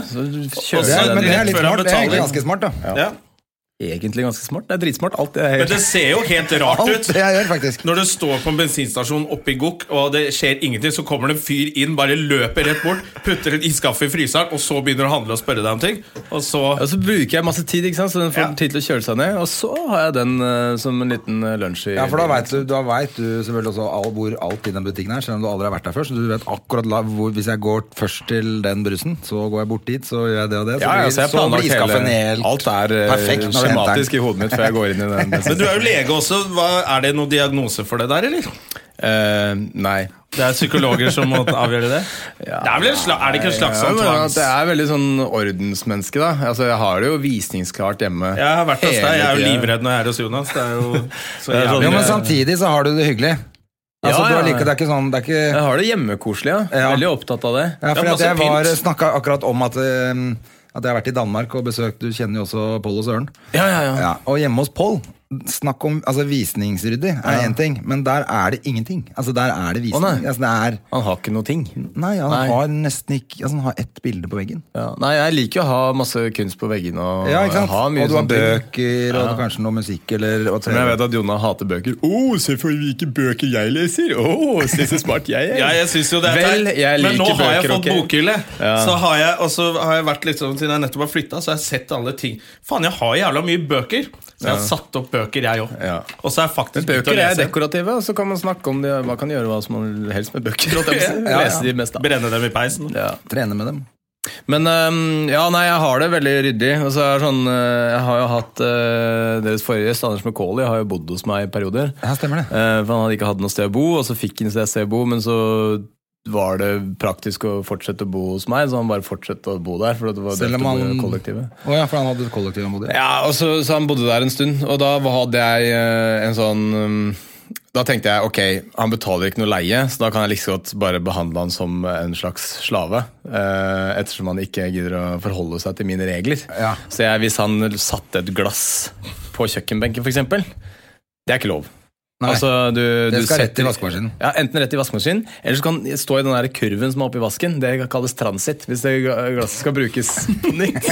[SPEAKER 3] Kjøler
[SPEAKER 2] Det er,
[SPEAKER 3] jeg
[SPEAKER 2] men det
[SPEAKER 3] den
[SPEAKER 2] er
[SPEAKER 3] rett.
[SPEAKER 2] litt
[SPEAKER 1] før han
[SPEAKER 2] smart. Det er egentlig
[SPEAKER 1] betaler.
[SPEAKER 2] ganske smart, da.
[SPEAKER 1] Ja.
[SPEAKER 3] Egentlig ganske smart. Det er dritsmart. Alt det
[SPEAKER 1] Men
[SPEAKER 3] er
[SPEAKER 1] det ser jo helt rart
[SPEAKER 2] Alt
[SPEAKER 1] ut.
[SPEAKER 2] det jeg gjør, faktisk.
[SPEAKER 1] Når du står på en bensinstasjon oppe i Gokk, og det skjer ingenting, så kommer det en fyr inn, bare løper rett bort, putter en iskaffe i fryseren, og så begynner han å handle og spørre deg om ting. Og så
[SPEAKER 3] og så bruker jeg masse tid, ikke sant? så den får
[SPEAKER 1] Ja.
[SPEAKER 3] tid til å kjøle seg ned. Og så har jeg den eh, som en liten eh, lunsj i
[SPEAKER 2] Ja, for da vet du, da vet du selvfølgelig også all, hvor alt i den butikken er, selv om du aldri har vært der før. Så du vet akkurat la, hvor, hvis jeg går først til den brusen, så går jeg bort dit, så gjør jeg det og det. Så
[SPEAKER 3] Ja, ja, så jeg
[SPEAKER 2] så
[SPEAKER 3] planlagt
[SPEAKER 2] blir iskaffen
[SPEAKER 3] hele-
[SPEAKER 2] helt
[SPEAKER 3] Alt er
[SPEAKER 2] perfekt
[SPEAKER 3] eh,
[SPEAKER 2] når du henter
[SPEAKER 3] skjematisk i
[SPEAKER 2] den.
[SPEAKER 3] hodet mitt før jeg går inn i den.
[SPEAKER 2] *laughs*
[SPEAKER 1] Men du er jo lege også. Hva, er det noen diagnose for det der, eller?
[SPEAKER 3] Eh, nei.
[SPEAKER 1] Det er psykologer som må avgjøre
[SPEAKER 3] *laughs*
[SPEAKER 1] det? Det er vel en sla, er det ikke en slags
[SPEAKER 3] Ja,
[SPEAKER 1] sånn
[SPEAKER 3] men
[SPEAKER 1] tvangs...
[SPEAKER 3] at jeg er veldig sånn ordensmenneske, da. Altså, jeg har det jo visningsklart hjemme.
[SPEAKER 1] Jeg har vært hos deg. Jeg er jo
[SPEAKER 3] hele tiden.
[SPEAKER 1] livredd når jeg er hos Jonas. Det er jo så
[SPEAKER 3] Det er sånn-
[SPEAKER 2] Jo,
[SPEAKER 1] jævlig.
[SPEAKER 2] men samtidig så har du det hyggelig. Altså,
[SPEAKER 3] Ja,
[SPEAKER 2] du
[SPEAKER 3] ja,
[SPEAKER 2] har
[SPEAKER 3] ja.
[SPEAKER 2] like, det er ikke sånn, det er ikke...
[SPEAKER 3] Jeg har det hjemmekoselig, ja.
[SPEAKER 2] Ja.
[SPEAKER 3] Veldig opptatt av det.
[SPEAKER 2] Ja, fordi
[SPEAKER 1] Ja,
[SPEAKER 2] at jeg
[SPEAKER 1] masse
[SPEAKER 2] var,
[SPEAKER 1] pynt.
[SPEAKER 2] snakket akkurat om at, eh, at jeg har vært i Danmark og besøkt, du kjenner jo også Pål og Søren.
[SPEAKER 3] Ja, ja, ja.
[SPEAKER 2] Ja, og hjemme hos Pål Snakk om altså, visningsryddig er én ting, men der er det ingenting. Altså, der er det visning.
[SPEAKER 3] Å, nei.
[SPEAKER 2] altså, det er,
[SPEAKER 3] Han har ikke noe ting.
[SPEAKER 2] nei, han
[SPEAKER 3] Nei.
[SPEAKER 2] har nesten ikke altså, Han har ett bilde på veggen.
[SPEAKER 3] Ja. Nei, jeg liker jo å ha masse kunst på veggene. Og,
[SPEAKER 2] Ja, ikke sant?
[SPEAKER 3] Ha mye
[SPEAKER 2] Og du har
[SPEAKER 3] sånne ting.
[SPEAKER 2] bøker, og kanskje noe musikk eller og
[SPEAKER 3] Men jeg
[SPEAKER 2] TV.
[SPEAKER 3] vet at Jonna hater bøker. Å, se for hvilke bøker jeg leser! Å, se så smart jeg er!
[SPEAKER 1] Ja, jeg synes jo det er
[SPEAKER 3] Vel,
[SPEAKER 1] teit.
[SPEAKER 3] jeg
[SPEAKER 1] Men nå
[SPEAKER 3] liker
[SPEAKER 1] har jeg
[SPEAKER 3] bøker,
[SPEAKER 1] fått
[SPEAKER 3] ok?
[SPEAKER 1] bokhylle.
[SPEAKER 3] Ja.
[SPEAKER 1] Så har jeg, og så har jeg vært litt sånn Siden jeg nettopp har flytta, så har jeg sett alle ting. Faen, jeg har jævla mye bøker. Så jeg har satt opp bøker, jeg òg.
[SPEAKER 3] Ja.
[SPEAKER 1] Og så har jeg
[SPEAKER 3] Men
[SPEAKER 1] faktisk begynt å
[SPEAKER 3] bøker er
[SPEAKER 1] lese.
[SPEAKER 3] dekorative, og så kan man snakke om det. Man kan gjøre hva som man helst med bøker. holdt jeg på å si.
[SPEAKER 1] Ja, ja.
[SPEAKER 3] Lese de mest av.
[SPEAKER 1] Brenne dem i peisen.
[SPEAKER 3] Ja.
[SPEAKER 2] Trene med dem.
[SPEAKER 3] Men øhm, ja, nei, jeg har det veldig ryddig. Og så er det sånn, øh, Jeg har jo hatt øh, deres forrige gjest, Anders McCauley, har jo bodd hos meg i perioder.
[SPEAKER 2] Ja, stemmer det.
[SPEAKER 3] Eh, for han hadde ikke hatt noe sted å bo, og så fikk han seg et sted å bo, men så var det praktisk å fortsette å bo hos meg, så han bare fortsatte å bo der. For det var
[SPEAKER 2] Selv
[SPEAKER 3] delt
[SPEAKER 2] om
[SPEAKER 3] å bo i
[SPEAKER 2] han-
[SPEAKER 3] kollektivet.
[SPEAKER 2] Å ja, for han hadde kollektiv han bodde i.
[SPEAKER 3] Ja, og så, så han bodde der en stund, og da hadde jeg eh, en sånn um, Da tenkte jeg ok, han betaler ikke noe leie, så da kan jeg like så godt bare behandle han som en slags slave. eh, ettersom han ikke gidder å forholde seg til mine regler.
[SPEAKER 2] Ja.
[SPEAKER 3] Så jeg, hvis han satte et glass på kjøkkenbenken, f.eks., det er ikke lov.
[SPEAKER 2] Nei.
[SPEAKER 3] Altså, du,
[SPEAKER 2] Det
[SPEAKER 3] du
[SPEAKER 2] skal rett i
[SPEAKER 3] setter-
[SPEAKER 2] vaskemaskinen.
[SPEAKER 3] Ja, Enten rett i vaskemaskinen, eller så kan det stå i den der kurven som er oppi vasken. Det kalles transit, hvis det gla- glasset skal brukes på
[SPEAKER 2] *laughs*
[SPEAKER 3] nytt.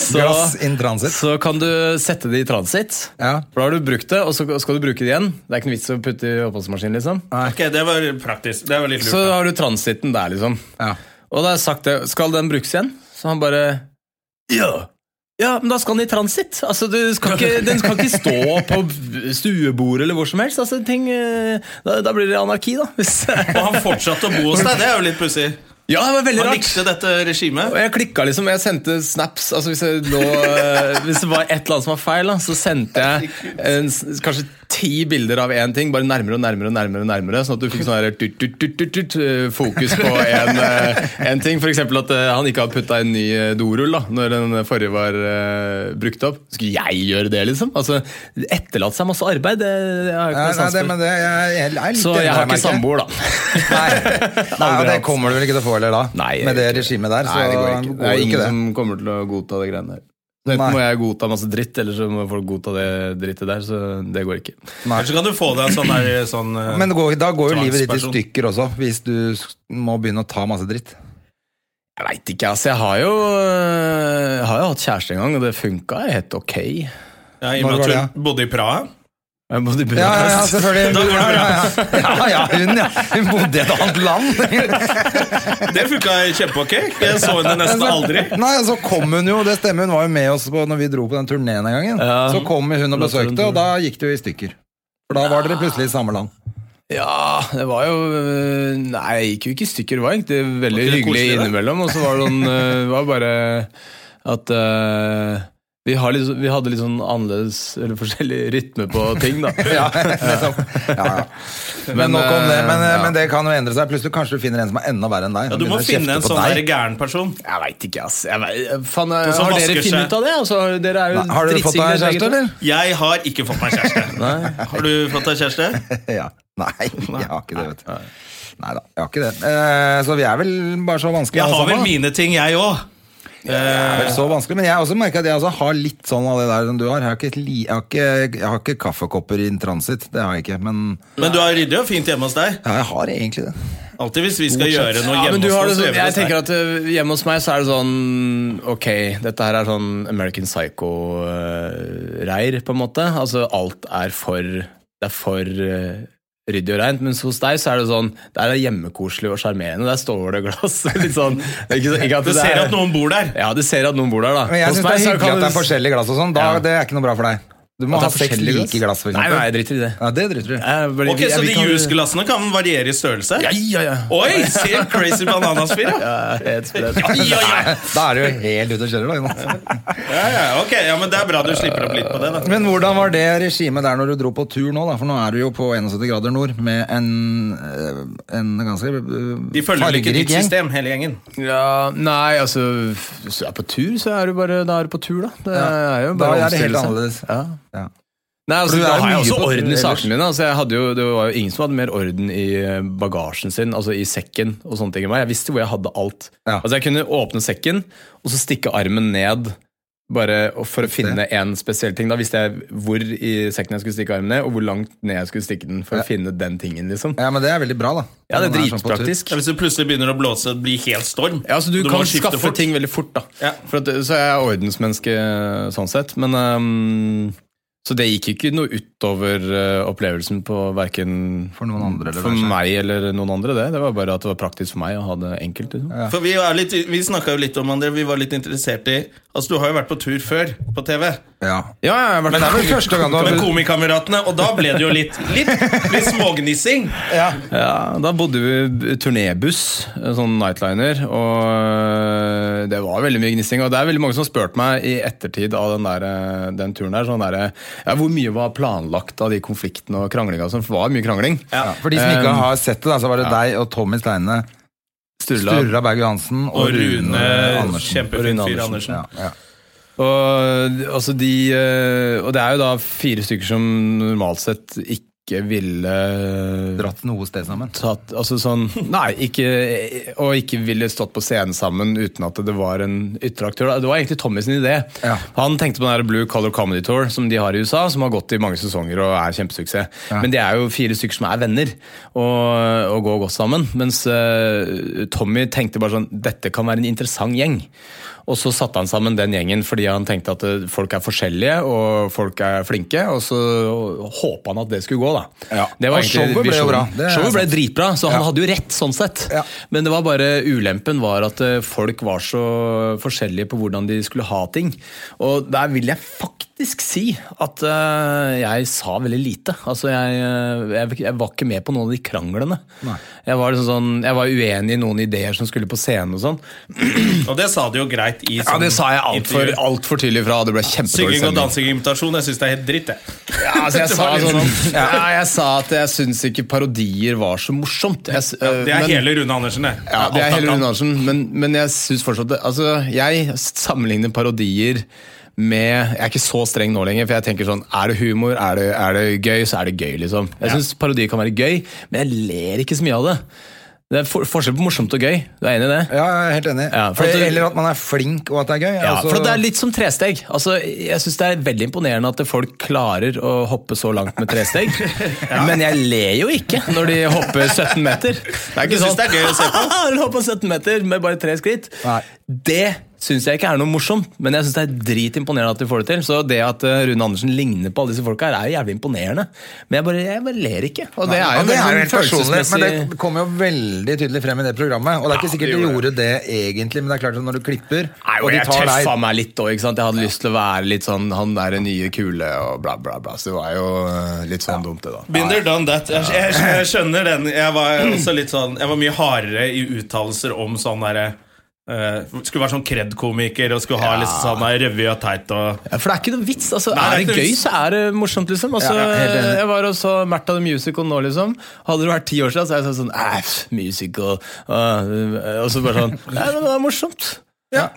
[SPEAKER 3] Så,
[SPEAKER 2] Glass in transit.
[SPEAKER 3] Så kan du sette det i transit.
[SPEAKER 2] Ja.
[SPEAKER 3] For da har du brukt det, og så skal du bruke det igjen. Det er ikke noe vits å putte i oppvaskmaskinen, liksom.
[SPEAKER 1] Ok, det var praktisk. Det var litt lurt.
[SPEAKER 3] Så
[SPEAKER 1] da.
[SPEAKER 3] har du transitten der, liksom.
[SPEAKER 2] Ja.
[SPEAKER 3] Og da har jeg sagt det. Skal den brukes igjen? Så han bare Ja. Ja, men da skal den i transit. Altså, du skal ikke, Den skal ikke stå på stuebordet eller hvor som helst. Altså, ting, eh, da, da blir det anarki, da. Hvis.
[SPEAKER 1] *laughs* Og han fortsatte å bo hos deg. Det er jo litt pussig.
[SPEAKER 3] Ja, det var veldig
[SPEAKER 1] Han
[SPEAKER 3] rart.
[SPEAKER 1] likte dette regimet.
[SPEAKER 3] Og jeg klikka liksom, jeg sendte snaps altså hvis, jeg nå, eh, hvis det var et eller annet som var feil, da, så sendte jeg eh, en, s- kanskje ti bilder av én ting, bare nærmere og nærmere, og nærmere, og nærmere sånn at du fikk sånn her tut, tut, tut, tut, tut, eh, fokus på en, eh, en ting. F.eks. at eh, han ikke hadde putta en ny eh, dorull da når den forrige var eh, brukt opp. Skulle jeg gjøre det, liksom? Altså, Etterlate seg masse arbeid, det, det har jeg
[SPEAKER 2] Nei,
[SPEAKER 3] ikke noe
[SPEAKER 2] nei,
[SPEAKER 3] sans
[SPEAKER 2] det,
[SPEAKER 3] for.
[SPEAKER 2] men det, jeg, jeg er litt
[SPEAKER 3] Så
[SPEAKER 2] enig
[SPEAKER 3] jeg
[SPEAKER 2] der,
[SPEAKER 3] har ikke
[SPEAKER 2] merker jeg.
[SPEAKER 3] samboer, da.
[SPEAKER 2] *laughs*
[SPEAKER 3] *laughs*
[SPEAKER 2] Nei, nei og det
[SPEAKER 3] hatt.
[SPEAKER 2] kommer du vel ikke til å få heller da,
[SPEAKER 3] Nei, jeg
[SPEAKER 2] med det
[SPEAKER 3] gjør ikke
[SPEAKER 2] regimet der. Så
[SPEAKER 3] Nei, det går ikke. Det er
[SPEAKER 2] ikke
[SPEAKER 3] ingen
[SPEAKER 2] det.
[SPEAKER 3] som kommer til å godta det greiene der. Så
[SPEAKER 2] Nei.
[SPEAKER 3] Enten må jeg godta masse dritt, eller så må folk godta det drittet der. Så det går ikke.
[SPEAKER 2] Nei.
[SPEAKER 1] Kanskje kan du få deg en sånn der sånn eh,
[SPEAKER 2] Men det går, da går jo livet ditt i
[SPEAKER 1] Tvangsperson.
[SPEAKER 2] stykker også, hvis du s- må begynne å ta masse dritt.
[SPEAKER 3] Jeg veit ikke, altså. Jeg har jo, øh, har jo hatt kjæreste en gang, og det funka helt ok. Jeg
[SPEAKER 1] ja, I og med
[SPEAKER 2] Når var
[SPEAKER 1] at hun bodde i Praha.
[SPEAKER 3] bodde i
[SPEAKER 2] Ja, ja, ja
[SPEAKER 3] Budapest.
[SPEAKER 2] *laughs* selvfølgelig.
[SPEAKER 1] Da går det bra.
[SPEAKER 2] Ja, ja, ja. ja, ja, hun, ja. Hun bodde i et annet
[SPEAKER 3] *laughs*
[SPEAKER 2] land.
[SPEAKER 1] Det funka kjempeok. Jeg så henne nesten
[SPEAKER 3] Altså-
[SPEAKER 1] aldri.
[SPEAKER 2] Nei, og så kom hun jo, det stemmer, hun var jo med oss på, når vi dro på den turnéen en gangen.
[SPEAKER 3] Ja.
[SPEAKER 2] Så kom hun og besøkte, og da gikk det jo i stykker. For da var dere plutselig i samme land.
[SPEAKER 3] Ja, det var jo øh, Nei, jeg gikk jo ikke i stykker. Det var egentlig
[SPEAKER 1] Var
[SPEAKER 3] veldig
[SPEAKER 1] ikke det
[SPEAKER 3] hyggelig
[SPEAKER 1] koselig, da?
[SPEAKER 3] innimellom. Og så var det sånn øh, Det var bare at øh, vi, har litt, vi hadde litt sånn annerledes eller forskjellig rytme på ting, da.
[SPEAKER 2] *laughs* Ja, nettopp. Liksom. ja, ja. Men,
[SPEAKER 3] Men,
[SPEAKER 2] nok om det, men,
[SPEAKER 3] eh, ja.
[SPEAKER 2] men det kan jo endre seg. Plutselig kanskje du finner en som er enda verre enn deg.
[SPEAKER 1] Ja,
[SPEAKER 2] som
[SPEAKER 1] du
[SPEAKER 2] begynner
[SPEAKER 1] må
[SPEAKER 2] å kjefte på
[SPEAKER 1] finne en sånn
[SPEAKER 2] deg.
[SPEAKER 1] der gæren person.
[SPEAKER 3] Jeg veit ikke, ass. Jeg vet, faen,
[SPEAKER 1] Sånn som
[SPEAKER 3] har dere
[SPEAKER 1] vasker
[SPEAKER 3] funnet
[SPEAKER 1] seg.
[SPEAKER 3] ut av det? Altså, dere er jo
[SPEAKER 2] Nei, Har du fått
[SPEAKER 3] drittsikre
[SPEAKER 2] deg kjæreste,
[SPEAKER 3] begge to.
[SPEAKER 2] eller?
[SPEAKER 1] Jeg har ikke fått meg kjæreste. Har du fått deg kjæreste?
[SPEAKER 2] Ja. Nei, jeg har ikke det, vet du. Nei da, jeg har ikke det. Eh, så vi er vel bare så vanskelige
[SPEAKER 1] Jeg har vel
[SPEAKER 2] da.
[SPEAKER 1] mine ting, jeg òg.
[SPEAKER 2] Jeg er vel så vanskelig, men jeg har også merket at jeg også har litt sånn av det der som du har. Jeg har ikke, li- jeg har ikke, jeg har ikke kaffekopper in transit, det har jeg ikke. Men
[SPEAKER 1] Men du har ryddig og fint hjemme hos deg.
[SPEAKER 2] ja, jeg har egentlig det.
[SPEAKER 1] Alltid hvis vi skal gjøre noe
[SPEAKER 3] Ja, men
[SPEAKER 1] hjemme
[SPEAKER 3] du har det
[SPEAKER 1] hos oss. så
[SPEAKER 3] sånn,
[SPEAKER 1] gjør vi
[SPEAKER 3] jeg
[SPEAKER 1] det
[SPEAKER 3] tenker
[SPEAKER 1] hos deg.
[SPEAKER 3] at ø, hjemme hos meg så er det sånn Ok, dette her er sånn American Psycho-reir, på en måte. Altså alt er for Det er for ø, ryddig og reint. Mens hos deg så er det sånn Der er det hjemmekoselig og sjarmerende. Der står det glass. *laughs* Litt sånn det er ikke, så- ikke at
[SPEAKER 1] Du
[SPEAKER 3] det
[SPEAKER 1] ser
[SPEAKER 3] er-
[SPEAKER 1] at noen bor der.
[SPEAKER 3] Ja, du ser at noen bor der, da.
[SPEAKER 2] Men jeg
[SPEAKER 3] Hos
[SPEAKER 2] syns det er
[SPEAKER 3] meg så
[SPEAKER 2] hyggelig
[SPEAKER 3] kan
[SPEAKER 2] at det er
[SPEAKER 3] du-
[SPEAKER 2] forskjellige glass og sånn. Da,
[SPEAKER 3] Ja.
[SPEAKER 2] Det er ikke noe bra for deg. Du må ha
[SPEAKER 3] At det er
[SPEAKER 2] seks
[SPEAKER 3] forskjellige
[SPEAKER 2] like glass, for
[SPEAKER 3] Nei,
[SPEAKER 2] eksempel.
[SPEAKER 3] nei, jeg driter i det.
[SPEAKER 2] Ja, det driter du i.
[SPEAKER 3] Jeg bare-
[SPEAKER 1] Ok,
[SPEAKER 3] jeg-
[SPEAKER 1] Så
[SPEAKER 3] Eh, vi
[SPEAKER 1] de
[SPEAKER 3] kan-
[SPEAKER 1] juiceglassene kan variere i størrelse?
[SPEAKER 3] Ja, ja, ja.
[SPEAKER 1] Oi, se en crazy bananas-fyr, ja.
[SPEAKER 3] Ja, helt sprøtt.
[SPEAKER 1] Ja, ja.
[SPEAKER 2] Da er du jo helt ute å kjøre, da. Jonas.
[SPEAKER 1] Ja, ja, ok, ja, men Det er bra du slipper opp litt på det. da
[SPEAKER 2] Men hvordan var det regimet der når du dro på tur nå, da? For nå er du jo på 71 grader nord med en, eh, en ganske eh,
[SPEAKER 1] De følger vel ikke
[SPEAKER 2] fargerik
[SPEAKER 1] ditt
[SPEAKER 2] gjeng.
[SPEAKER 1] system, hele gjengen.
[SPEAKER 3] Ja, nei, altså Hvis du er på tur, så er du bare, da er du på tur, da. Det
[SPEAKER 2] Ja,
[SPEAKER 3] er jo
[SPEAKER 2] da
[SPEAKER 3] bare
[SPEAKER 2] er det helt
[SPEAKER 3] omstillelse.
[SPEAKER 2] annerledes.
[SPEAKER 3] Ja.
[SPEAKER 2] Ja.
[SPEAKER 3] Nei, altså,
[SPEAKER 2] For du
[SPEAKER 3] da
[SPEAKER 2] er
[SPEAKER 3] har jeg
[SPEAKER 2] mye
[SPEAKER 3] også
[SPEAKER 2] på tur
[SPEAKER 3] orden i
[SPEAKER 2] ellers.
[SPEAKER 3] sakene mine. Altså, jeg hadde jo, det var jo ingen som hadde mer orden i eh, bagasjen sin, altså i sekken og sånne ting enn meg. Jeg visste hvor jeg hadde alt.
[SPEAKER 2] Ja.
[SPEAKER 3] Altså, jeg kunne åpne sekken, og så stikke armen ned. Bare og for å finne en spesiell ting. Da visste jeg hvor i sekken jeg skulle stikke armen ned, og hvor langt ned jeg skulle stikke den. For å finne den tingen, liksom.
[SPEAKER 2] Ja, men det er veldig bra, da.
[SPEAKER 3] Ja, det er
[SPEAKER 2] Når man sånn på tur.
[SPEAKER 3] dritpraktisk.
[SPEAKER 1] Ja, hvis det plutselig begynner å blåse, det blir helt storm.
[SPEAKER 3] Ja, altså Du,
[SPEAKER 1] må
[SPEAKER 3] kan
[SPEAKER 1] skifte
[SPEAKER 3] skaffe
[SPEAKER 1] fort.
[SPEAKER 3] ting veldig fort, da.
[SPEAKER 1] Ja.
[SPEAKER 3] For at, så er jeg ordensmenneske sånn sett. Men ehm, Så det gikk jo ikke noe utover eh, opplevelsen på verken
[SPEAKER 2] For noen andre, eller
[SPEAKER 3] for
[SPEAKER 2] hva som er.
[SPEAKER 3] meg eller noen andre. Det Det var bare at det var praktisk for meg å ha det enkelt. Liksom.
[SPEAKER 1] For Vi, er litt- vi snakka jo litt om André, vi var litt interessert i Altså, Du har jo vært på tur før, på TV,
[SPEAKER 2] Ja.
[SPEAKER 3] Ja, ja, jeg har vært-
[SPEAKER 2] Men det er vel første gang du har
[SPEAKER 1] med Komikameratene, og da ble det jo litt, litt, litt smågnissing.
[SPEAKER 2] ja.
[SPEAKER 3] Ja, da bodde vi i turnébuss, sånn nightliner, og det var veldig mye gnissing. Og det er veldig mange som har spurt meg i ettertid av den, der, den turen der, sånn der ja, hvor mye var planlagt av de konfliktene og kranglinga og sånn, for det var mye krangling.
[SPEAKER 2] Ja, For de som ikke har sett det, da, så var det deg og Tommy Steine,
[SPEAKER 3] Sturla.
[SPEAKER 2] Sturla Berg Johansen og,
[SPEAKER 1] Og Rune,
[SPEAKER 2] Andersen.
[SPEAKER 1] kjempefin
[SPEAKER 3] Rune
[SPEAKER 1] fyr
[SPEAKER 3] Andersen,
[SPEAKER 1] Andersen.
[SPEAKER 2] Ja, ja.
[SPEAKER 3] Og, altså de, eh, og det er jo da fire stykker som normalt sett ikke ikke ville
[SPEAKER 2] Dratt noe sted sammen.
[SPEAKER 3] tatt Altså sånn Nei, ikke, og ikke ville stått på scenen sammen uten at det var en ytre aktør. da. Det var egentlig Tommy sin idé.
[SPEAKER 2] Ja.
[SPEAKER 3] Han tenkte på den der Blue Color Comedy Tour som de har i USA, som har gått i mange sesonger og er kjempesuksess. Men det er jo fire stykker som er venner og, og går godt sammen. Mens eh, Tommy tenkte bare sånn Dette kan være en interessant gjeng. Og så satte han sammen den gjengen fordi han tenkte at eh, folk er forskjellige og folk er flinke. Og så håpa han at det skulle gå, da.
[SPEAKER 2] Ja.
[SPEAKER 3] Det var
[SPEAKER 2] Og
[SPEAKER 3] egentlig
[SPEAKER 2] showet ble jo
[SPEAKER 3] visjonen.
[SPEAKER 2] bra. Det er
[SPEAKER 3] Showet ble
[SPEAKER 2] sant.
[SPEAKER 3] dritbra, så
[SPEAKER 2] Ja.
[SPEAKER 3] han hadde jo rett sånn sett.
[SPEAKER 2] Ja.
[SPEAKER 3] Men det var bare ulempen var at eh, folk var så forskjellige på hvordan de skulle ha ting. Og der vil jeg faktisk si at eh, jeg sa veldig lite. Altså jeg, eh, jeg, jeg var ikke med på noen av de kranglene. Jeg var, liksom sånn, jeg var uenig i noen ideer som skulle på scenen og sånn.
[SPEAKER 1] Og det sa du jo greit i
[SPEAKER 3] Ja,
[SPEAKER 1] sånn
[SPEAKER 3] det sa jeg altfor
[SPEAKER 1] intervju.
[SPEAKER 3] alt for tydelig fra. Det ble kjempedårlig
[SPEAKER 1] Synging og
[SPEAKER 3] stemning.
[SPEAKER 1] dansingimitasjon, jeg syns det er helt dritt, jeg.
[SPEAKER 3] Ja, altså
[SPEAKER 1] *laughs*
[SPEAKER 3] jeg,
[SPEAKER 1] Det
[SPEAKER 3] sa
[SPEAKER 1] var litt
[SPEAKER 3] sånn,
[SPEAKER 1] sånn.
[SPEAKER 3] ja, jeg sa at jeg syns ikke parodier var så morsomt. Jeg, s- eh,
[SPEAKER 1] Det er
[SPEAKER 3] men-
[SPEAKER 1] hele Rune Andersen, det.
[SPEAKER 3] Ja, det er
[SPEAKER 1] Alt
[SPEAKER 3] hele
[SPEAKER 1] han
[SPEAKER 3] Rune
[SPEAKER 1] kan.
[SPEAKER 3] Andersen, men, men jeg synes fortsatt det, altså, Jeg sammenligner parodier med Jeg er ikke så streng nå lenger, for jeg tenker sånn Er det humor, er det, er det gøy, så er det gøy, liksom. Jeg synes parodier kan være gøy, men jeg ler ikke så mye av det. Det er for, forskjell på morsomt og gøy. Du er enig i det?
[SPEAKER 2] Ja, jeg er helt enig.
[SPEAKER 3] Ja, for at du-
[SPEAKER 2] Eller at man er flink, og at det er gøy.
[SPEAKER 3] Ja,
[SPEAKER 2] altså-
[SPEAKER 3] for det er litt som tresteg. Altså, jeg synes Det er veldig imponerende at folk klarer å hoppe så langt med tresteg. Men jeg ler jo ikke når de hopper 17 meter. Det er
[SPEAKER 1] Du
[SPEAKER 3] ikke
[SPEAKER 1] synes
[SPEAKER 3] sånn
[SPEAKER 1] det er gøy å se
[SPEAKER 3] *laughs*
[SPEAKER 1] på?
[SPEAKER 3] Dere hopper 17 meter med bare tre skritt.
[SPEAKER 2] Nei.
[SPEAKER 3] Det syns jeg ikke er noe morsomt, men jeg syns det er dritimponerende at de får det til. Så det at eh, Rune Andersen ligner på alle disse folka, her, er jo jævlig imponerende. Men jeg bare, jeg bare ler ikke. Og det er jo
[SPEAKER 2] Ja, det er jo
[SPEAKER 3] veldig
[SPEAKER 2] helt personlig, men
[SPEAKER 3] følelsesmessig
[SPEAKER 2] det kom jo veldig tydelig frem i det programmet. Og det er ikke
[SPEAKER 3] Ja,
[SPEAKER 2] sikkert
[SPEAKER 3] det
[SPEAKER 2] du
[SPEAKER 3] gjorde
[SPEAKER 2] gjorde det egentlig, men det er klart at når du klipper
[SPEAKER 3] Nei,
[SPEAKER 2] og
[SPEAKER 3] og
[SPEAKER 2] de
[SPEAKER 3] jeg
[SPEAKER 2] tar
[SPEAKER 3] tøffa
[SPEAKER 2] deg
[SPEAKER 3] meg litt òg. Jeg hadde lyst til å være litt sånn Han er den nye kule og bla, bla, bla. Så det var jo eh, litt sånn dumt, det, da.
[SPEAKER 1] Been there, done that. Jeg, jeg, jeg skjønner den. Jeg var også litt sånn Jeg var mye hardere i uttalelser om sånn derre eh, Skulle være sånn kred-komiker og skulle ha litt sånn der revy og teit og
[SPEAKER 3] Ja, for det er ikke noe vits. altså
[SPEAKER 1] Nei, det er
[SPEAKER 3] Er det
[SPEAKER 1] ikke noe
[SPEAKER 3] gøy,
[SPEAKER 1] vits.
[SPEAKER 3] så er det morsomt, liksom. Altså,
[SPEAKER 2] Ja, ja, helt enig.
[SPEAKER 3] jeg var og så Märtha the Musical nå, liksom. Hadde det vært ti år siden, så hadde jeg sagt sånn Æff, musical. øh, og så bare sånn Nei, men det er morsomt.
[SPEAKER 2] Ja.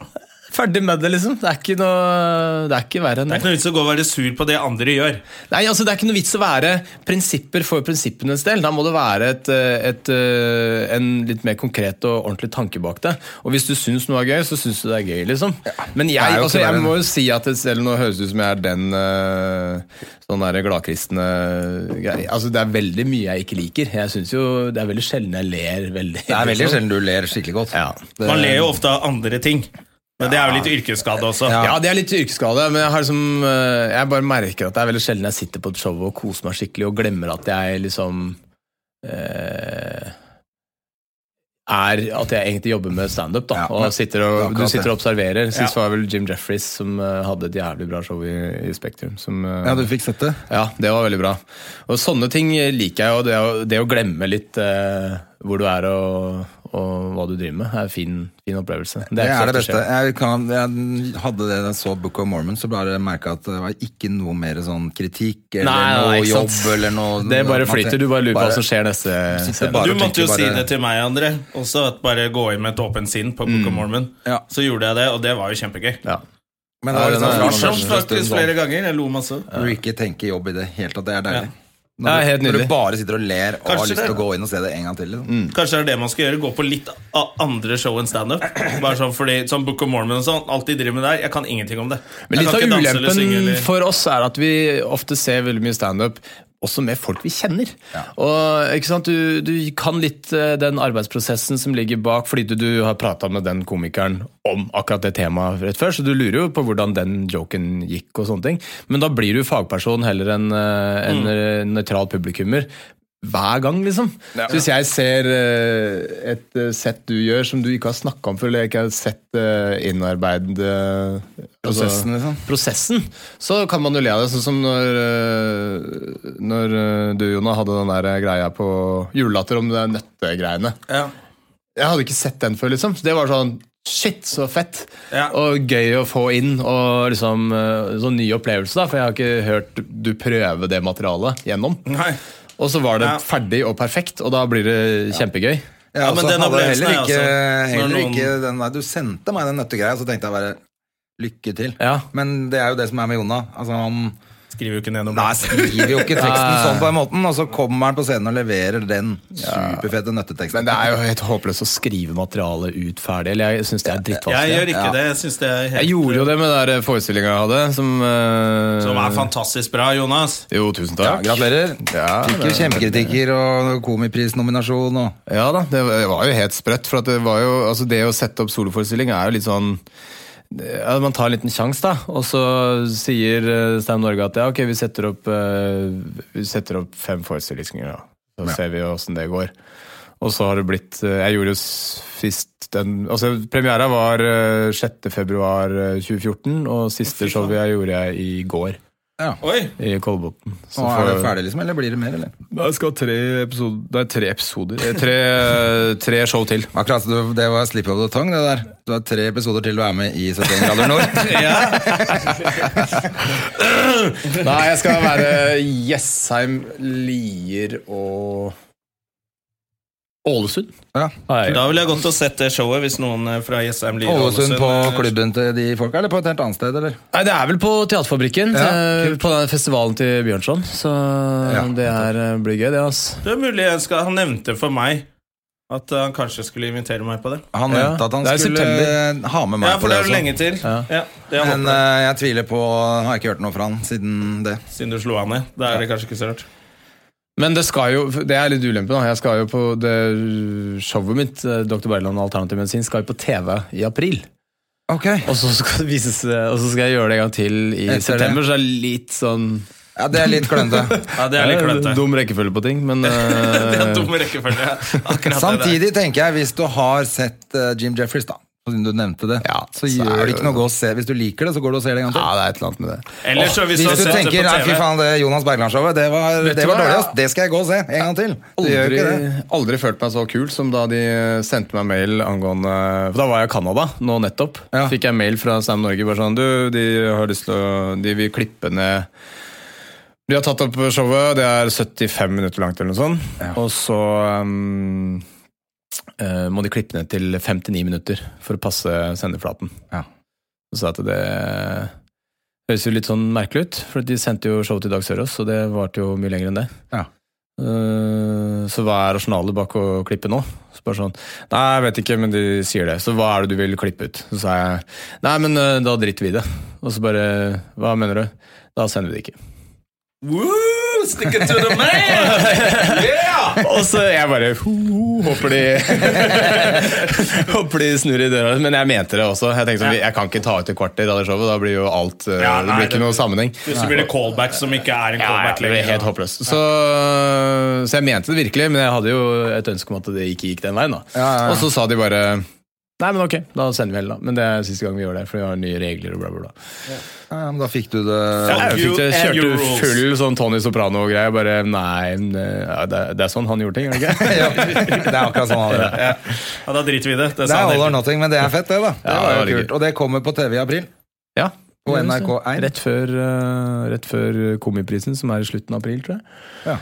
[SPEAKER 3] Ferdig med det, liksom. Det er ikke noe Det er ikke verre enn
[SPEAKER 1] Det er
[SPEAKER 3] det.
[SPEAKER 1] ikke noe vits i å gå og være sur på det andre gjør.
[SPEAKER 3] Nei, altså Det er ikke noe vits å være prinsipper for prinsippenes del. Da må det være et, eh, et, eh, en litt mer konkret og ordentlig tanke bak det. Og hvis du syns noe er gøy, så syns du det er gøy, liksom. Men
[SPEAKER 2] det
[SPEAKER 3] jeg,
[SPEAKER 2] er jo
[SPEAKER 3] altså,
[SPEAKER 2] ikke
[SPEAKER 3] jeg
[SPEAKER 2] verre.
[SPEAKER 3] må jo si at det- selv om nå høres det ut som jeg er den eh, sånn der gladkristne greia Altså Det er veldig mye jeg ikke liker. Jeg synes jo Det er veldig sjelden jeg ler veldig.
[SPEAKER 2] Det er veldig
[SPEAKER 3] liksom.
[SPEAKER 2] sjelden du ler skikkelig godt.
[SPEAKER 3] Ja.
[SPEAKER 2] Det-
[SPEAKER 1] Man ler jo ofte av andre ting. Men det er jo litt yrkesskade også.
[SPEAKER 3] Ja. det er litt yrkesskade, men jeg, har liksom, eh, jeg bare merker at det er veldig sjelden jeg sitter på et show og koser meg skikkelig og glemmer at jeg liksom eh, er At jeg egentlig jobber med standup. da,
[SPEAKER 2] Ja,
[SPEAKER 3] og
[SPEAKER 2] men-
[SPEAKER 3] sitter og,
[SPEAKER 2] akkurat
[SPEAKER 3] du sitter og observerer. Sist
[SPEAKER 1] Ja.
[SPEAKER 3] var vel Jim Jeffries som eh, hadde et jævlig bra show i, i Spektrum. Som, eh,
[SPEAKER 2] Ja, du fikk sett det?
[SPEAKER 3] ja, det var veldig bra. Og sånne ting liker jeg, og det å, det å glemme litt eh, hvor du er og, og hva du driver med, er en fin, fin opplevelse.
[SPEAKER 2] Det
[SPEAKER 3] ikke
[SPEAKER 2] er
[SPEAKER 3] så
[SPEAKER 2] det
[SPEAKER 3] ofte
[SPEAKER 2] beste.
[SPEAKER 3] skjer.
[SPEAKER 2] Jeg, kan, jeg hadde det da jeg så Book of Mormon, så bare merka at det var ikke noe mer sånn kritikk eller
[SPEAKER 3] Nei, nei,
[SPEAKER 2] noe
[SPEAKER 3] ikke sant.
[SPEAKER 2] jobb eller noe
[SPEAKER 3] Det bare flyter. Du bare lurer på hva som skjer neste
[SPEAKER 2] sitter
[SPEAKER 3] scene.
[SPEAKER 2] bare-
[SPEAKER 1] Du
[SPEAKER 2] og
[SPEAKER 1] måtte jo
[SPEAKER 2] tenker
[SPEAKER 1] si
[SPEAKER 2] bare-
[SPEAKER 1] det til meg, André. Også at bare gå inn med et åpent sinn på
[SPEAKER 3] Mm.
[SPEAKER 1] Book of Mormon.
[SPEAKER 2] Ja.
[SPEAKER 1] Så gjorde jeg det, og det var jo kjempegøy.
[SPEAKER 3] Ja.
[SPEAKER 2] Men det var
[SPEAKER 3] Ja,
[SPEAKER 2] liksom
[SPEAKER 3] den er-
[SPEAKER 2] fra
[SPEAKER 1] Morsomt
[SPEAKER 2] første stund
[SPEAKER 1] faktisk flere
[SPEAKER 2] sånn.
[SPEAKER 1] ganger. Jeg lo masse.
[SPEAKER 2] Når du ikke tenker jobb i det hele tatt. Det er deilig. Når,
[SPEAKER 3] Ja,
[SPEAKER 2] du-
[SPEAKER 3] helt
[SPEAKER 2] når du
[SPEAKER 3] nydelig.
[SPEAKER 2] bare sitter og ler og har
[SPEAKER 1] Kanskje
[SPEAKER 2] lyst til å
[SPEAKER 1] det-
[SPEAKER 2] gå inn og se det en gang til. Liksom.
[SPEAKER 3] Mm.
[SPEAKER 1] Kanskje det er det man skal gjøre. Gå på litt a- andre show enn standup. Bare sånn fordi sånn Book of Mormon og sånn, alt de driver med der, jeg kan ingenting om det.
[SPEAKER 3] Men
[SPEAKER 1] Jeg
[SPEAKER 3] litt
[SPEAKER 1] kan
[SPEAKER 3] av
[SPEAKER 1] ikke danse eller synge
[SPEAKER 3] ulempen
[SPEAKER 1] eller-
[SPEAKER 3] for oss er at vi ofte ser veldig mye standup. Også med folk vi kjenner. Og, ikke sant? Du, du kan litt eh, den arbeidsprosessen som ligger bak, fordi du, du har prata med den komikeren om akkurat det temaet rett før, så du lurer jo på hvordan den joken gikk og sånne ting. Men da blir du fagperson heller enn eh, en eh,
[SPEAKER 2] Mm.
[SPEAKER 3] nøytral publikummer. Hver gang, liksom. Så hvis jeg ser eh, et eh, sett du gjør som du ikke har snakka om før, eller ikke har sett eh, innarbeid eh, altså-
[SPEAKER 2] Prosessen, liksom.
[SPEAKER 3] prosessen, så kan man jo le av det. Sånn som når, øh, når øh, du, Jonah, hadde den der greia på julelatter om de nøttegreiene.
[SPEAKER 1] Ja.
[SPEAKER 3] Jeg hadde ikke sett den før, liksom. Så det var sånn Shit, så fett!
[SPEAKER 1] Ja.
[SPEAKER 3] Og gøy å få inn. Og liksom øh, sånn ny opplevelse, da. For jeg har ikke hørt du prøve det materialet gjennom.
[SPEAKER 1] Nei.
[SPEAKER 3] Og så var det
[SPEAKER 1] Ja.
[SPEAKER 3] ferdig og perfekt, og da blir det kjempegøy.
[SPEAKER 2] Ja,
[SPEAKER 1] Ja, men
[SPEAKER 2] men
[SPEAKER 1] den
[SPEAKER 2] hadde jeg
[SPEAKER 1] opplevelsen
[SPEAKER 2] heller
[SPEAKER 1] er
[SPEAKER 2] ikke,
[SPEAKER 1] altså- når
[SPEAKER 2] heller
[SPEAKER 1] noen-
[SPEAKER 2] ikke den der, Du sendte meg den nøttegreia, så tenkte jeg bare lykke til.
[SPEAKER 3] Ja.
[SPEAKER 2] Men det er jo det som er med Jonna. Altså, han
[SPEAKER 1] skriver jo ikke ned noe.
[SPEAKER 2] Nei, skriver jo ikke teksten sånn på den måten, og så kommer han på scenen og leverer den superfete
[SPEAKER 3] Men
[SPEAKER 2] nøtteteksten.
[SPEAKER 3] det er jo helt håpløst å skrive materialet ut ferdig. Eller jeg syns det er
[SPEAKER 1] Jeg
[SPEAKER 3] drittvanskelig.
[SPEAKER 1] gjør ikke
[SPEAKER 2] Ja.
[SPEAKER 1] det. Jeg syns det er helt eh,
[SPEAKER 3] Jeg gjorde jo det med den forestillinga jeg hadde, som, eh,
[SPEAKER 1] Som er fantastisk bra, Jonas.
[SPEAKER 3] Jo, tusen takk.
[SPEAKER 2] Gratulerer.
[SPEAKER 3] Ja,
[SPEAKER 2] Fikk jo kjempekritikker og komiprisnominasjon og
[SPEAKER 3] Ja da, det var det var jo helt sprøtt. For at det, var jo, altså det å sette opp soloforestilling er jo litt sånn ja, Man tar en liten sjanse, da. Og så sier eh, Stein Norge at ja, ok, vi setter opp, eh, vi setter opp fem forestillinger, da. Så ser vi åssen det går. Og så har det blitt eh, Jeg gjorde jo sist den Altså, premiera var eh, 6. februar eh, 2014, og siste showet jeg gjorde jeg i går.
[SPEAKER 1] Oi!
[SPEAKER 3] I Kolbotn. Så
[SPEAKER 2] Nå er det
[SPEAKER 3] får-
[SPEAKER 2] ferdig, liksom? Eller blir det mer, eller?
[SPEAKER 3] Jeg skal ha tre episoder Nei, tre episoder. Eh, *laughs* Tre, tre show til.
[SPEAKER 2] Akkurat, du- Det var slip of the tongue, det der. Du har tre episoder til å være med i 71 grader
[SPEAKER 3] *laughs*
[SPEAKER 2] nord.
[SPEAKER 3] Nei, jeg skal være Jessheim, Lier og Ålesund.
[SPEAKER 2] Ja.
[SPEAKER 3] Nei.
[SPEAKER 1] Da ville jeg gått og sett det showet hvis noen eh, fra Jessheim Lier
[SPEAKER 2] Ålesund på
[SPEAKER 1] eh,
[SPEAKER 2] klubben til de folka, eller på et helt annet sted, eller?
[SPEAKER 3] Nei, det er vel på Teaterfabrikken.
[SPEAKER 2] Ja,
[SPEAKER 3] eh,
[SPEAKER 2] kult.
[SPEAKER 3] på den festivalen til Bjørnson. Så
[SPEAKER 2] Ja.
[SPEAKER 3] det er, eh, blir gøy, det. ass.
[SPEAKER 1] Det er mulig jeg skal Han nevnte for meg at eh, han kanskje skulle invitere meg på det.
[SPEAKER 2] Han
[SPEAKER 3] Ja,
[SPEAKER 2] nevnte at han
[SPEAKER 3] det er i
[SPEAKER 2] skulle
[SPEAKER 3] september.
[SPEAKER 2] ha med meg
[SPEAKER 1] Ja, for
[SPEAKER 2] på det
[SPEAKER 1] det er jo
[SPEAKER 2] også.
[SPEAKER 1] lenge til. Ja. det jeg
[SPEAKER 2] Men
[SPEAKER 1] håper
[SPEAKER 2] eh, jeg tviler på Har ikke hørt noe fra han siden det.
[SPEAKER 1] Siden du slo han ned. Da er det kanskje ikke så rart.
[SPEAKER 3] Men det skal jo Det er litt ulempe, da. Jeg skal jo på det showet mitt, eh, Dr. Bergland og alternativ medisin, skal jo på TV i april.
[SPEAKER 2] Ok ja,
[SPEAKER 3] Og så skal, det vises, eh, og så skal jeg gjøre det en gang til i
[SPEAKER 2] Etter det.
[SPEAKER 3] september, så det er litt sånn
[SPEAKER 2] Det er litt klønete.
[SPEAKER 3] *laughs*
[SPEAKER 1] Ja, det er litt *laughs*
[SPEAKER 3] Ja,
[SPEAKER 1] klønete.
[SPEAKER 3] Dum rekkefølge på ting, men
[SPEAKER 1] Det er
[SPEAKER 3] eh,
[SPEAKER 1] dum rekkefølge. Akkurat det der.
[SPEAKER 2] Samtidig tenker jeg, hvis du har sett eh, Jim Jeffries, da, siden du nevnte det,
[SPEAKER 3] Ja,
[SPEAKER 2] så,
[SPEAKER 3] så er
[SPEAKER 2] gjør det
[SPEAKER 3] det
[SPEAKER 2] ikke
[SPEAKER 3] jo-
[SPEAKER 2] noe å gå og se. Hvis du liker det, så går du og ser det en gang til.
[SPEAKER 3] Ja, det er et eller annet med det.
[SPEAKER 1] Ellers så
[SPEAKER 2] Hvis
[SPEAKER 1] hvis, du
[SPEAKER 2] du
[SPEAKER 1] har sett
[SPEAKER 2] tenker
[SPEAKER 1] det
[SPEAKER 2] nei,
[SPEAKER 1] på
[SPEAKER 2] fy
[SPEAKER 1] TV
[SPEAKER 2] faen, det Jonas Bergland-showet, det var,
[SPEAKER 3] Vet du
[SPEAKER 2] det var
[SPEAKER 3] hva,
[SPEAKER 2] dårlig,
[SPEAKER 3] ja.
[SPEAKER 2] ass. Det skal jeg gå og se en gang til. Du gjør jo
[SPEAKER 3] Aldri,
[SPEAKER 2] ikke det.
[SPEAKER 3] aldri følt meg så kul som da de eh, sendte meg mail angående For da var jeg i Canada nå nettopp.
[SPEAKER 2] Ja.
[SPEAKER 3] Fikk jeg mail fra Sam Norge bare sånn Du, de har lyst til å De vil klippe ned De har tatt opp showet, det er 75 minutter langt eller noe sånt. Og så um, eh, må de klippe ned til 59 minutter for å passe sendeflaten.
[SPEAKER 2] Ja.
[SPEAKER 3] Så sa jeg at det høres jo litt sånn merkelig ut, for de sendte jo showet til Dag Sørås, og det varte jo mye lenger enn det.
[SPEAKER 2] Ja.
[SPEAKER 3] Eh, Så hva er rasjonalet bak å klippe nå? Så bare sånn, Nei, jeg vet ikke, men de sier det. Så hva er det du vil klippe ut? Så sa jeg nei, men eh, da driter vi i det. Og så bare Hva mener du? Da sender vi det ikke.
[SPEAKER 1] Woo, stick it to the man! Yeah!
[SPEAKER 2] *laughs*
[SPEAKER 3] Og så jeg bare ho, ho, Håper de *laughs* Håper de snur i døra. Men jeg mente det også. Jeg tenkte sånn, jeg kan ikke ta ut et kvarter av det showet. Da blir jo alt eh,
[SPEAKER 1] Ja,
[SPEAKER 3] Det
[SPEAKER 1] nei,
[SPEAKER 3] blir ikke
[SPEAKER 1] det-
[SPEAKER 3] noe sammenheng.
[SPEAKER 1] Hvis det blir det callback som ikke er en
[SPEAKER 3] Ja, ja,
[SPEAKER 1] callback
[SPEAKER 3] det ble
[SPEAKER 1] lenger.
[SPEAKER 3] helt håpløst. Så, så jeg mente det virkelig, men jeg hadde jo et ønske om at det ikke gikk den veien. da.
[SPEAKER 2] ja, ja.
[SPEAKER 3] Og så sa de bare Nei, men ok, da sender vi heller, da. Men det er siste gang vi gjør det, for vi har nye regler og bla, bla, bla.
[SPEAKER 2] Ja, men da fikk du det.
[SPEAKER 1] Ja.
[SPEAKER 3] Jeg fikk
[SPEAKER 1] You
[SPEAKER 3] det,
[SPEAKER 1] and your
[SPEAKER 3] kjørte
[SPEAKER 1] rules.
[SPEAKER 3] full sånn Tony Soprano-greie. Bare nei, men, ja, det, er- det er sånn han gjorde ting, er det ikke?
[SPEAKER 2] *laughs* Ja, det er akkurat sånn han gjør det.
[SPEAKER 1] Ja, da driter vi i det. Det,
[SPEAKER 2] Det
[SPEAKER 1] sa
[SPEAKER 2] er
[SPEAKER 1] han
[SPEAKER 2] all
[SPEAKER 1] hele
[SPEAKER 2] or nothing, men det er fett, det, da. Det
[SPEAKER 3] Ja,
[SPEAKER 2] var jo
[SPEAKER 3] det var
[SPEAKER 2] kult. Og det kommer på TV i april.
[SPEAKER 3] *laughs* Ja.
[SPEAKER 2] På NRK1.
[SPEAKER 3] Rett før, eh, rett før Komiprisen, som er i slutten av april, tror jeg.
[SPEAKER 2] Ja.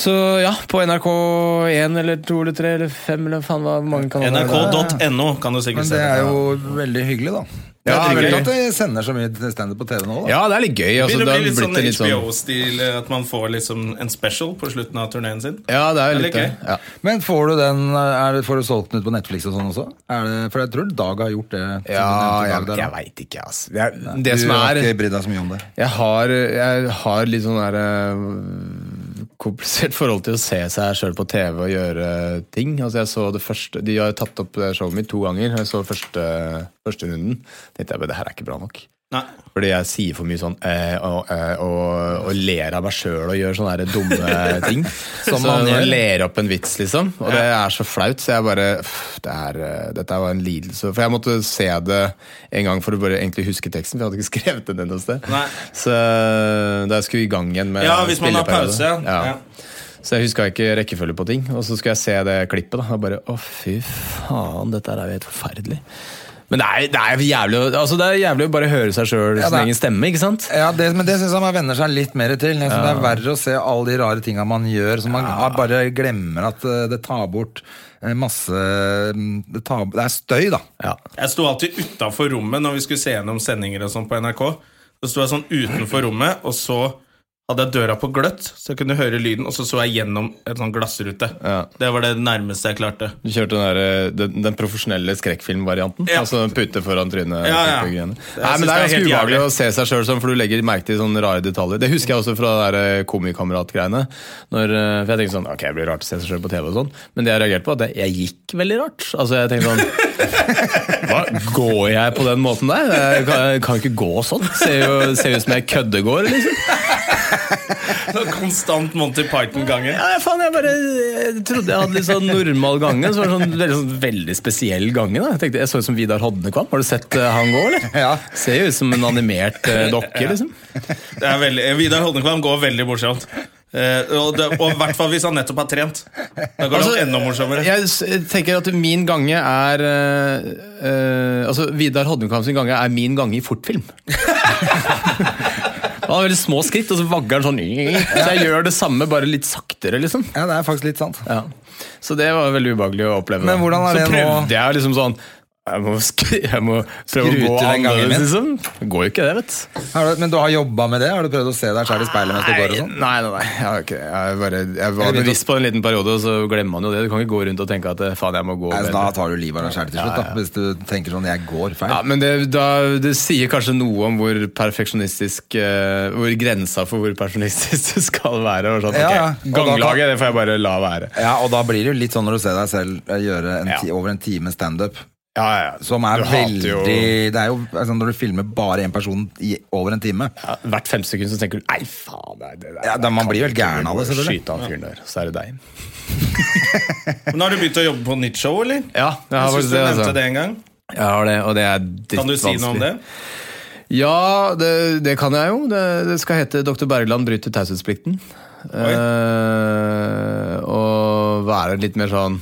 [SPEAKER 3] Så ja, på NRK1 eller 2 eller 3 eller 5 eller faen hva mange kanaler det er.
[SPEAKER 1] tiden. NRK.no kan du sikkert
[SPEAKER 2] Men
[SPEAKER 1] se.
[SPEAKER 2] det er jo veldig hyggelig, da. Det
[SPEAKER 3] Ja,
[SPEAKER 2] er
[SPEAKER 3] veldig.
[SPEAKER 2] hyggelig at de sender så mye standup på TV nå, da.
[SPEAKER 3] Ja, det er litt gøy. Altså,
[SPEAKER 1] Begynner
[SPEAKER 3] det
[SPEAKER 1] å
[SPEAKER 3] har
[SPEAKER 1] bli litt
[SPEAKER 3] blitt
[SPEAKER 1] sånn
[SPEAKER 3] en litt sånn
[SPEAKER 1] HBO-stil, at man får liksom en special på slutten av turneen sin.
[SPEAKER 3] Ja, det er
[SPEAKER 1] Det er
[SPEAKER 3] jo litt
[SPEAKER 1] litt
[SPEAKER 3] det. Ja.
[SPEAKER 2] Men får du den er det, Får du solgt den ut på Netflix og sånn også? Er det, for jeg tror Dag har gjort det. som du nevnte, Dag, der, da.
[SPEAKER 3] veit ikke, altså. Det, er, det
[SPEAKER 2] Du
[SPEAKER 3] som
[SPEAKER 2] har
[SPEAKER 3] er
[SPEAKER 2] ikke brydd deg så mye om det.
[SPEAKER 3] jeg har, jeg har litt sånn der eh, komplisert *laughs* forhold til å se seg sjøl på TV og gjøre ting. Altså jeg så det første De har tatt opp det showet mitt to ganger. Jeg så første, første runden. tenkte jeg, men det her er ikke bra nok.
[SPEAKER 1] Nei.
[SPEAKER 3] Fordi jeg sier for mye sånn eh, og, eh, og, og ler av meg sjøl og gjør sånne her
[SPEAKER 1] *laughs*
[SPEAKER 3] dumme ting.
[SPEAKER 2] Som
[SPEAKER 3] så
[SPEAKER 2] man gjør.
[SPEAKER 3] jeg ler opp en vits, liksom. Og det er så flaut, så jeg bare pff, det er, eh, Dette var en lidelse. For jeg måtte se det en gang for å bare egentlig huske teksten, for jeg hadde ikke *laughs* skrevet den noe sted.
[SPEAKER 1] Nei.
[SPEAKER 3] Så eh, da jeg skulle i gang igjen med
[SPEAKER 1] Ja, hvis man har
[SPEAKER 3] spilleperiode.
[SPEAKER 1] pause.
[SPEAKER 3] Ja.
[SPEAKER 1] Ja.
[SPEAKER 3] Så jeg huska ikke rekkefølge på ting. Og så skulle jeg se det klippet, da. Og bare å, fy faen, dette her er jo helt forferdelig. Men det er, det er jævlig å- altså det er jævlig å bare høre seg sjøl
[SPEAKER 2] Ja,
[SPEAKER 3] sin
[SPEAKER 2] det er-
[SPEAKER 3] egen stemme, ikke sant?
[SPEAKER 2] Ja, det, Men det syns jeg man venner seg litt mer til. Jeg synes Det er verre å se alle de rare tinga man gjør, som man har- bare glemmer at eh, det tar bort eh, masse mm, Det, tar, det er støy, da.
[SPEAKER 3] Ja.
[SPEAKER 1] Jeg sto alltid utafor rommet når vi skulle se gjennom sendinger og sånn på NRK. Så sto jeg sånn utenfor rommet, og så hadde jeg døra på gløtt, så jeg kunne høre lyden, og så så jeg gjennom en sånn glassrute.
[SPEAKER 3] Ja.
[SPEAKER 1] Det var det nærmeste jeg klarte.
[SPEAKER 3] Du kjørte den, der, eh, den, den profesjonelle skrekkfilmvarianten?
[SPEAKER 1] Ja.
[SPEAKER 3] Altså den pute foran trynet?
[SPEAKER 1] Ja, ja.
[SPEAKER 3] type greiene.
[SPEAKER 1] Jeg
[SPEAKER 3] Nei,
[SPEAKER 1] synes
[SPEAKER 3] men Det er
[SPEAKER 1] det er
[SPEAKER 3] ganske
[SPEAKER 1] helt
[SPEAKER 3] ubehagelig
[SPEAKER 1] jævlig.
[SPEAKER 3] å se seg sjøl sånn, for du legger merke til sånne rare detaljer. Det husker jeg også fra det der, eh, komikamerat-greiene. Når, eh, For jeg tenkte sånn Ok, det blir rart å se seg sjøl på TV og sånn. Men det jeg reagerte på, at jeg- jeg gikk veldig rart. Altså jeg tenkte sånn
[SPEAKER 1] *laughs*
[SPEAKER 3] Hva, Går jeg på den måten der? Jeg kan, jeg kan ikke gå sånn. Ser jo ser ut som jeg køddegård, liksom.
[SPEAKER 1] Sånn Konstant Monty Python-gangen.
[SPEAKER 3] Ja, faen, jeg bare jeg trodde jeg hadde litt sånn normal gange. Så var det sånn veldig, sånn veldig spesiell gange. da Jeg tenkte, jeg så ut som Vidar Hodnekvam. Har du sett eh, han gå, eller?
[SPEAKER 2] Ja.
[SPEAKER 3] Ser jo ut som en animert eh, dokke, liksom.
[SPEAKER 1] Det er veldig, Vidar Hodnekvam går veldig morsomt. Eh, og det- og i hvert fall hvis han nettopp har trent. Da går det Altså, enda morsommere.
[SPEAKER 3] Altså, Jeg s- tenker at min gange er eh, eh, Altså, Vidar Hodnekvam sin gange er min gange i
[SPEAKER 1] *laughs*
[SPEAKER 3] fortfilm. Han har veldig små skritt, og så vagger han sånn. Så jeg gjør det samme, bare litt saktere, liksom.
[SPEAKER 2] Ja, det er faktisk litt sant.
[SPEAKER 3] Ja. Så det var veldig ubehagelig å oppleve.
[SPEAKER 2] Men
[SPEAKER 3] da.
[SPEAKER 2] hvordan er
[SPEAKER 3] så
[SPEAKER 2] det nå-
[SPEAKER 3] prøvde jeg liksom sånn Jeg må, sk jeg må prøve
[SPEAKER 2] Skru
[SPEAKER 3] å gå
[SPEAKER 2] til den gangen
[SPEAKER 3] annerledes, liksom. Det går jo ikke det, vet du.
[SPEAKER 2] Har du, men du har jobba med det? Har du prøvd å se deg sjøl i speilet mens du går og
[SPEAKER 3] nei,
[SPEAKER 2] sånn?
[SPEAKER 3] nei, nei, jeg har ikke det. Jeg, bare, jeg var
[SPEAKER 2] Eller begynte å-
[SPEAKER 3] bevisst på en liten periode, og så glemmer man jo det. Du kan ikke gå rundt og tenke at eh, faen, jeg må gå
[SPEAKER 2] Nei, så Da
[SPEAKER 3] bedre.
[SPEAKER 2] tar du livet av deg sjæl til slutt, da. Hvis du tenker sånn 'jeg går feil'.
[SPEAKER 3] Ja, men det, da, det sier kanskje noe om hvor perfeksjonistisk eh, Hvor grensa for hvor perfeksjonistisk *laughs* du skal være. Og sånn,
[SPEAKER 2] Ja,
[SPEAKER 3] ok,
[SPEAKER 2] ja. Og da kan-
[SPEAKER 3] Ganglaget, det får jeg bare la være.
[SPEAKER 2] Ja, og da blir det jo litt sånn når du ser deg selv eh, gjøre en
[SPEAKER 3] Ja.
[SPEAKER 2] ti, over en time standup.
[SPEAKER 3] Ja, ja.
[SPEAKER 2] Som er
[SPEAKER 3] Du hater
[SPEAKER 2] veldig
[SPEAKER 3] jo-
[SPEAKER 2] Det er jo altså, Når du filmer bare én person i over en time
[SPEAKER 3] ja, hvert femte sekund så tenker du Nei, faen, nei, det der
[SPEAKER 2] Ja, da man
[SPEAKER 3] kan
[SPEAKER 2] blir vel
[SPEAKER 3] ikke
[SPEAKER 2] gæren av det,
[SPEAKER 3] gå og
[SPEAKER 2] selvfølgelig.
[SPEAKER 3] Skyte av fyren der, så er det deg.
[SPEAKER 1] Men har du begynt å jobbe på nytt show, eller?
[SPEAKER 3] Ja, jeg har
[SPEAKER 1] jeg synes du
[SPEAKER 3] faktisk det,
[SPEAKER 1] nevnte
[SPEAKER 3] altså.
[SPEAKER 1] det en gang.
[SPEAKER 3] Jeg har det, og det er drittvanskelig.
[SPEAKER 1] Kan du si noe om det?
[SPEAKER 3] Ja, det, det kan jeg jo. Det, det skal hete 'Dr. Bergland bryter taushetsplikten'. Eh, og være litt mer sånn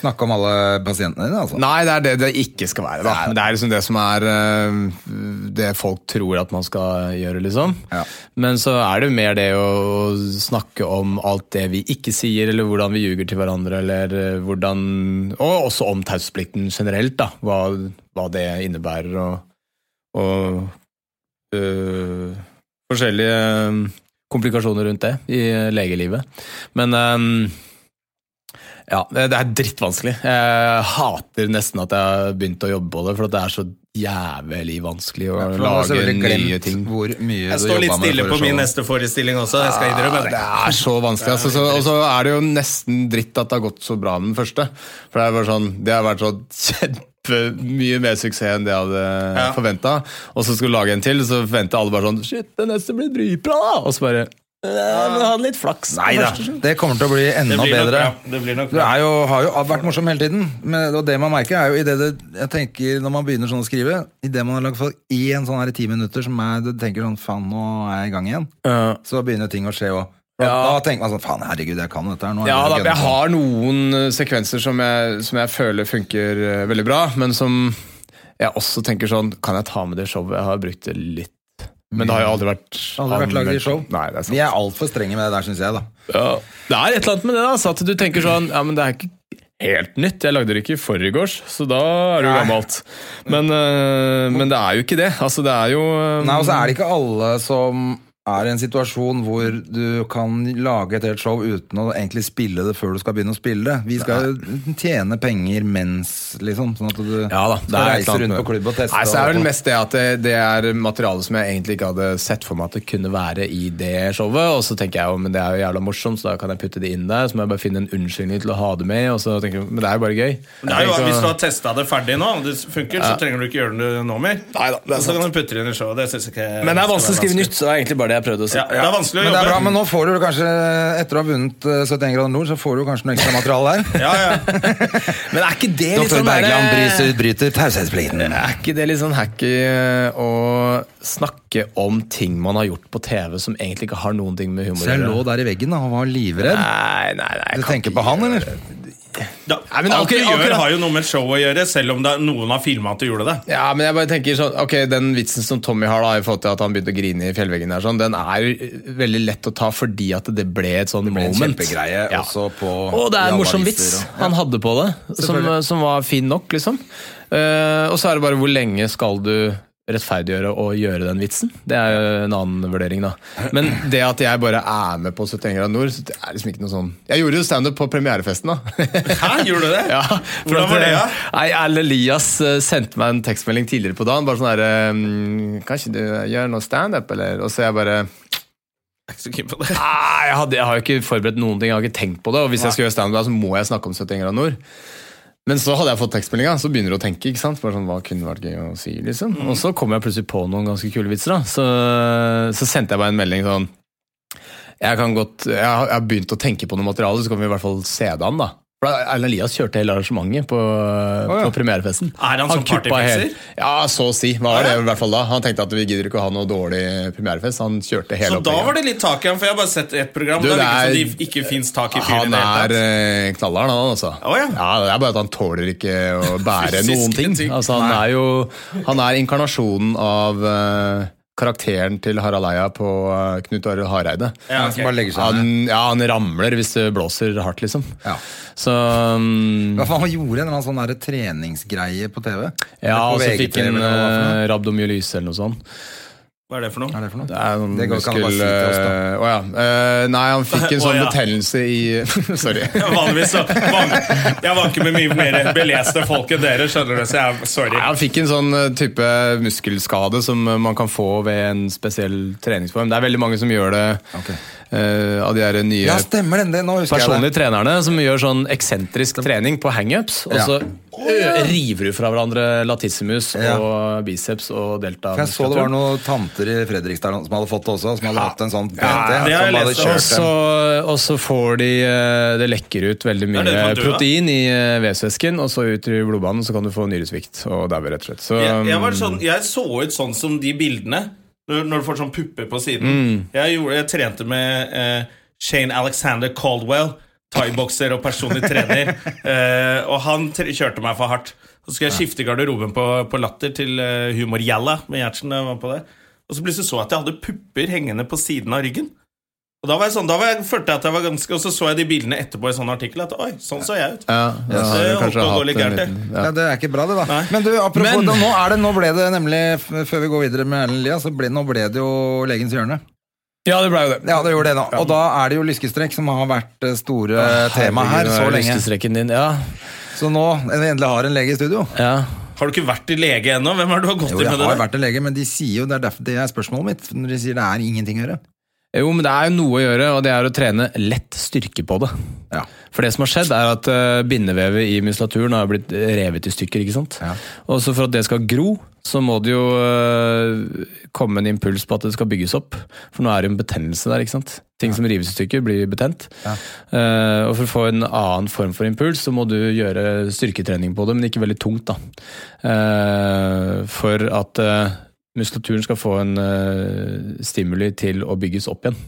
[SPEAKER 2] Snakke om alle pasientene dine, altså.
[SPEAKER 3] Nei, det er det det ikke skal være. Da. Det er liksom det som er eh, det folk tror at man skal gjøre, liksom.
[SPEAKER 2] Ja.
[SPEAKER 3] Men så er det mer det å snakke om alt det vi ikke sier, eller hvordan vi ljuger til hverandre, eller eh, hvordan Og også om taushetsplikten generelt, da. Hva, hva det innebærer, og, og eh, forskjellige eh, komplikasjoner rundt det i eh, legelivet. Men eh, ja, det er drittvanskelig. Jeg hater nesten at jeg har begynt å jobbe på det, for at det er så jævlig vanskelig å
[SPEAKER 2] For man har
[SPEAKER 3] lage
[SPEAKER 2] selvfølgelig
[SPEAKER 3] nye
[SPEAKER 2] glemt
[SPEAKER 3] ting.
[SPEAKER 2] Hvor mye
[SPEAKER 1] Jeg
[SPEAKER 2] du
[SPEAKER 1] står litt
[SPEAKER 2] jobbet med det
[SPEAKER 1] stille
[SPEAKER 2] for
[SPEAKER 1] på min
[SPEAKER 2] showet.
[SPEAKER 1] neste forestilling også. Jeg skal innrømme
[SPEAKER 3] Det
[SPEAKER 1] det.
[SPEAKER 3] er så vanskelig. Altså, så, og så er det jo nesten dritt at det har gått så bra med den første. For det er bare sånn, det har vært sånn kjempemye mer suksess enn det jeg hadde
[SPEAKER 1] Ja.
[SPEAKER 3] forventet forventa. Og så skulle du lage en til, så forventa alle bare sånn Shit, den neste blir dritbra! da!» Og så bare «Ja, men hadde litt flaks. på
[SPEAKER 2] Nei da,
[SPEAKER 3] første, så».
[SPEAKER 2] det kommer til å bli enda
[SPEAKER 1] Det blir nok
[SPEAKER 2] bedre.
[SPEAKER 1] bra. Det blir nok
[SPEAKER 2] Du
[SPEAKER 1] bra.
[SPEAKER 2] er jo, har jo vært morsom hele tiden, men, og det man merker er jo i det det, jeg tenker når man begynner sånn å skrive, i det man har lagt for én sånn her i ti minutter som er, du tenker sånn faen, nå er jeg i gang igjen,
[SPEAKER 3] Ja.
[SPEAKER 2] så begynner ting å skje òg. Da
[SPEAKER 3] Ja.
[SPEAKER 2] tenker man sånn faen, herregud, jeg kan dette her nå. er
[SPEAKER 3] Ja,
[SPEAKER 2] det
[SPEAKER 3] da,
[SPEAKER 2] gønn
[SPEAKER 3] jeg
[SPEAKER 2] på».
[SPEAKER 3] har noen eh, sekvenser som jeg, som jeg føler funker eh, veldig bra, men som jeg også tenker sånn Kan jeg ta med det showet? Jeg har brukt det litt. Men det har jo aldri vært
[SPEAKER 2] Aldri vært laget i
[SPEAKER 3] anvendt.
[SPEAKER 2] show.
[SPEAKER 3] Nei, det er sant.
[SPEAKER 2] Vi er altfor strenge med det der, syns jeg, da.
[SPEAKER 3] Ja. Det er et eller annet med det, da. Så at du tenker sånn Ja, men det er ikke helt nytt. Jeg lagde det ikke i forgårs, så da er det jo
[SPEAKER 2] Nei.
[SPEAKER 3] gammelt. Men, eh, men det er jo ikke det. Altså, det er jo eh,
[SPEAKER 2] Nei, og så er det ikke alle som er i en situasjon hvor du kan lage et helt show uten å egentlig spille det før du skal begynne å spille det. Vi skal jo tjene penger mens, liksom. Sånn at du
[SPEAKER 3] Ja da, det
[SPEAKER 2] skal
[SPEAKER 3] er et
[SPEAKER 2] reise
[SPEAKER 3] eller annet
[SPEAKER 2] rundt
[SPEAKER 3] med-
[SPEAKER 2] på klubb og teste.
[SPEAKER 3] Nei, så er det
[SPEAKER 2] og-
[SPEAKER 3] vel mest det at det, det er materiale som jeg egentlig ikke hadde sett for meg at det kunne være i det showet, og så tenker jeg jo, men det er jo jævla morsomt, så da kan jeg putte det inn der, så må jeg bare finne en unnskyldning til å ha det med, og så tenker jeg, men det er jo bare gøy.
[SPEAKER 1] Det er jo,
[SPEAKER 3] Jeg tenker
[SPEAKER 1] hvis du
[SPEAKER 3] så-
[SPEAKER 1] har testa det ferdig nå, og det funker, så trenger du ikke gjøre det nå mer. Og så kan du putte det inn i showet. Det synes jeg ikke
[SPEAKER 3] men det er
[SPEAKER 1] skal
[SPEAKER 3] vanskelig
[SPEAKER 1] være
[SPEAKER 3] å skrive nytt, så det er egentlig bare det jeg prøvde å si.
[SPEAKER 1] Ja, det er vanskelig å
[SPEAKER 2] Men det er bra, men
[SPEAKER 1] jobbe.
[SPEAKER 2] nå får du kanskje, etter å ha vunnet eh, 71 grader nord, så får du kanskje noe ekstra materiale
[SPEAKER 3] *laughs*
[SPEAKER 2] der.
[SPEAKER 1] *laughs* Ja, ja.
[SPEAKER 3] Men er ikke det litt
[SPEAKER 2] Dr.
[SPEAKER 3] sånn
[SPEAKER 2] Bergland
[SPEAKER 3] der-
[SPEAKER 2] bryter, bryter taushetsplikten.
[SPEAKER 3] Er ikke det litt sånn hacky eh, å snakke om ting man har gjort på TV som egentlig ikke har noen ting med humor å
[SPEAKER 2] Så jeg
[SPEAKER 3] gjøre?
[SPEAKER 2] lå der i veggen da, og var livredd.
[SPEAKER 3] Nei, nei, nei. jeg
[SPEAKER 2] Du
[SPEAKER 3] kan
[SPEAKER 2] tenker
[SPEAKER 3] ikke
[SPEAKER 2] på han,
[SPEAKER 3] gjøre
[SPEAKER 2] eller?
[SPEAKER 1] Da,
[SPEAKER 3] Nei, men
[SPEAKER 1] alt du
[SPEAKER 3] akkurat-
[SPEAKER 1] gjør,
[SPEAKER 3] akkurat-
[SPEAKER 1] har jo noe med et show å gjøre, selv om det er noen har filma at du gjorde det.
[SPEAKER 3] Ja, men jeg bare tenker sånn Ok, den vitsen som Tommy har da i forhold til at han begynte å grine i fjellveggen der, sånn, den er eh, veldig lett å ta fordi at det ble et sånn
[SPEAKER 2] ble en
[SPEAKER 3] moment.
[SPEAKER 2] kjempegreie også på-
[SPEAKER 3] Og det
[SPEAKER 2] i alle
[SPEAKER 3] er en morsom
[SPEAKER 2] aviser
[SPEAKER 3] vits
[SPEAKER 2] og- ja.
[SPEAKER 3] han hadde på det, som,
[SPEAKER 2] Selvfølgelig.
[SPEAKER 3] som var fin nok, liksom. Eh, og så er det bare hvor lenge skal du eh, rettferdiggjøre å gjøre den vitsen. Det er jo en annen vurdering, da. Men det at jeg bare er med på 71 grader nord, så det er liksom ikke noe sånn Jeg gjorde jo standup på premierefesten, da.
[SPEAKER 2] *laughs*
[SPEAKER 1] Hæ, gjorde du det?
[SPEAKER 3] Ja, for
[SPEAKER 1] Hvordan
[SPEAKER 3] at,
[SPEAKER 1] var det, da?
[SPEAKER 3] eh, Nei, Erlend Elias eh, sendte meg en tekstmelding tidligere på dagen. Bare sånn her mm, Kanskje du gjør noe standup, eller? Og så jeg bare
[SPEAKER 1] Jeg er ikke så keen på det.
[SPEAKER 3] Nei, jeg, hadde, jeg har jo ikke forberedt noen ting, jeg har ikke tenkt på det. Og hvis jeg skal gjøre standup, der, så må jeg snakke om 71 grader nord. Men så hadde jeg fått tekstmeldinga, så begynner du å tenke. ikke sant? Bare sånn, hva kunne vært gøy å si, liksom?
[SPEAKER 1] Mm.
[SPEAKER 3] Og så kom jeg plutselig på noen ganske kule vitser. da. Så, så sendte jeg meg en melding sånn jeg, kan godt, jeg, har, jeg har begynt å tenke på noe materiale, så kan vi i hvert fall se det an, da. For da- Erlend Elias kjørte hele arrangementet på, på premierefesten.
[SPEAKER 1] han sånn
[SPEAKER 3] kuppa
[SPEAKER 1] partyfikser?
[SPEAKER 3] hele- Ja, så å si. Hva var det i hvert fall da? Han tenkte at vi gidder ikke å ha noe dårlig premierefest. Han kjørte hele
[SPEAKER 1] Så da
[SPEAKER 3] opplegget.
[SPEAKER 1] var det litt tak i ham, for jeg har bare sett ett program.
[SPEAKER 3] Du,
[SPEAKER 1] det
[SPEAKER 3] det
[SPEAKER 1] virker
[SPEAKER 3] er-
[SPEAKER 1] som det ikke fins tak i fyren i
[SPEAKER 3] Han
[SPEAKER 1] det
[SPEAKER 3] er
[SPEAKER 1] hele tatt.
[SPEAKER 3] eh, knallhard, han altså.
[SPEAKER 1] Å, ja.
[SPEAKER 3] Det er bare at han tåler ikke
[SPEAKER 2] *laughs*
[SPEAKER 3] å bære
[SPEAKER 1] Fysiske
[SPEAKER 3] noen ting.
[SPEAKER 1] ting.
[SPEAKER 3] Altså, han er jo han er inkarnasjonen av eh, karakteren til Harald Eia på eh, Knut Arild Hareide.
[SPEAKER 1] Ja,
[SPEAKER 2] Han
[SPEAKER 1] ok.
[SPEAKER 2] som bare legger seg ned.
[SPEAKER 3] Han, ja, han ramler hvis det blåser hardt, liksom.
[SPEAKER 2] Ja.
[SPEAKER 3] Så mm,
[SPEAKER 2] Hva faen han gjorde en eller annen sånn der treningsgreie på TV? Eller på
[SPEAKER 3] Ja, og så
[SPEAKER 2] VGTV
[SPEAKER 3] fikk han
[SPEAKER 2] eller hva det var for noe.
[SPEAKER 3] eh, rabdomyolyse eller noe sånt.
[SPEAKER 1] Hva er det for
[SPEAKER 2] Hva
[SPEAKER 1] noe?
[SPEAKER 2] er det for noe?
[SPEAKER 3] Det er noen
[SPEAKER 2] Det går ikke an å bare si
[SPEAKER 3] muskel...
[SPEAKER 2] til oss, da.
[SPEAKER 3] eh, Å ja. Eh, nei, han
[SPEAKER 2] *laughs*
[SPEAKER 3] fikk en
[SPEAKER 1] Å,
[SPEAKER 3] sånn
[SPEAKER 1] ja.
[SPEAKER 3] betennelse i *laughs* Sorry.
[SPEAKER 1] Vanligvis så van- Jeg vanker med mye mer beleste folk enn dere, skjønner du, så jeg er sorry.
[SPEAKER 3] Nei, han fikk en sånn eh, type muskelskade som eh, man kan få ved en spesiell treningsform. Det er veldig mange som gjør det
[SPEAKER 2] Ok.
[SPEAKER 3] eh, av de her nye
[SPEAKER 2] Ja, stemmer den, det. Nå husker
[SPEAKER 3] personlige
[SPEAKER 2] jeg det.
[SPEAKER 3] trenerne som gjør sånn eksentrisk trening på hangups, og
[SPEAKER 2] Ja.
[SPEAKER 3] så ø, river du fra hverandre latissimus
[SPEAKER 2] Ja.
[SPEAKER 3] og biceps og delta.
[SPEAKER 2] For jeg så det var noen tanter i Fredrikstad som hadde fått det også, som hadde hatt en sånn PT.
[SPEAKER 1] Ja, det har jeg
[SPEAKER 2] som hadde
[SPEAKER 1] lest
[SPEAKER 3] Og
[SPEAKER 2] kjørt
[SPEAKER 3] så,
[SPEAKER 2] dem.
[SPEAKER 3] og så får de eh, Det lekker ut veldig
[SPEAKER 1] er
[SPEAKER 3] mye
[SPEAKER 1] det du kan dø av.
[SPEAKER 3] protein i eh, vevsvæsken, og så ut i blodbanen, så kan du få nyresvikt og daue, rett og slett. Så, um,
[SPEAKER 1] Jeg, jeg, var
[SPEAKER 2] Um,
[SPEAKER 1] sånn, jeg så ut sånn som de bildene, når, når du får sånn pupper på siden.
[SPEAKER 2] Mm.
[SPEAKER 1] Jeg, gjorde, jeg trente med eh, Shane Alexander Caldwell, thaibokser og personlig
[SPEAKER 2] *laughs*
[SPEAKER 1] trener. eh, og han tre kjørte meg for hardt. Så skulle jeg skifte garderoben på, på Latter til eh, Humor-Jalla med Gjertsen. da jeg var på det. Og så plutselig så jeg at jeg hadde pupper hengende på siden av ryggen. Og da var jeg sånn, da var jeg, følte jeg at jeg var ganske Og så så jeg de bildene etterpå i sånn artikkel at oi, sånn så jeg ut.
[SPEAKER 3] ja, da har
[SPEAKER 1] det
[SPEAKER 3] du
[SPEAKER 1] holdt på å
[SPEAKER 3] kanskje
[SPEAKER 1] gå
[SPEAKER 3] hatt
[SPEAKER 1] litt
[SPEAKER 3] en
[SPEAKER 1] gærent,
[SPEAKER 3] liten, ja.
[SPEAKER 2] Ja, det er ikke bra, det, da.
[SPEAKER 1] Nei.
[SPEAKER 2] Men du, apropos
[SPEAKER 3] Men-
[SPEAKER 2] da, nå, er det, nå ble det nemlig, f- før vi går videre med Erlend Elias, så ble, nå ble det jo Legens hjørne.
[SPEAKER 3] ja, det ble jo det.
[SPEAKER 2] Ja, det gjorde det, da. Og da er det jo lyskestrekk som har vært eh, store tema her så
[SPEAKER 3] Herregud,
[SPEAKER 2] lenge.
[SPEAKER 3] lyskestrekken Din. Ja,
[SPEAKER 2] Så nå når vi endelig har en lege i studio
[SPEAKER 3] ja.
[SPEAKER 1] Har du ikke vært i lege ennå? Hvem er det du har gått
[SPEAKER 2] Jo,
[SPEAKER 1] i
[SPEAKER 2] jeg
[SPEAKER 1] med det?
[SPEAKER 2] har
[SPEAKER 1] der?
[SPEAKER 2] vært en lege, men de sier jo det er derfor det er spørsmålet mitt. Når de sier det er ingenting å gjøre.
[SPEAKER 3] Jo, men det er jo noe å gjøre, og det er å trene lett styrke på det.
[SPEAKER 2] Ja.
[SPEAKER 3] For det som har skjedd, er at eh, bindevevet i muskulaturen har blitt revet i stykker. ikke sant?
[SPEAKER 2] Ja.
[SPEAKER 3] Og så for at det skal gro, så må det jo eh, komme en impuls på at det skal bygges opp. For nå er det jo en betennelse der. ikke sant? Ting som rives i stykker, blir betent. Eh, og for å få en annen form for impuls, så må du gjøre styrketrening på det, men ikke veldig tungt. da. Eh, for at eh, muskulaturen skal få en eh, stimuli til å bygges opp igjen.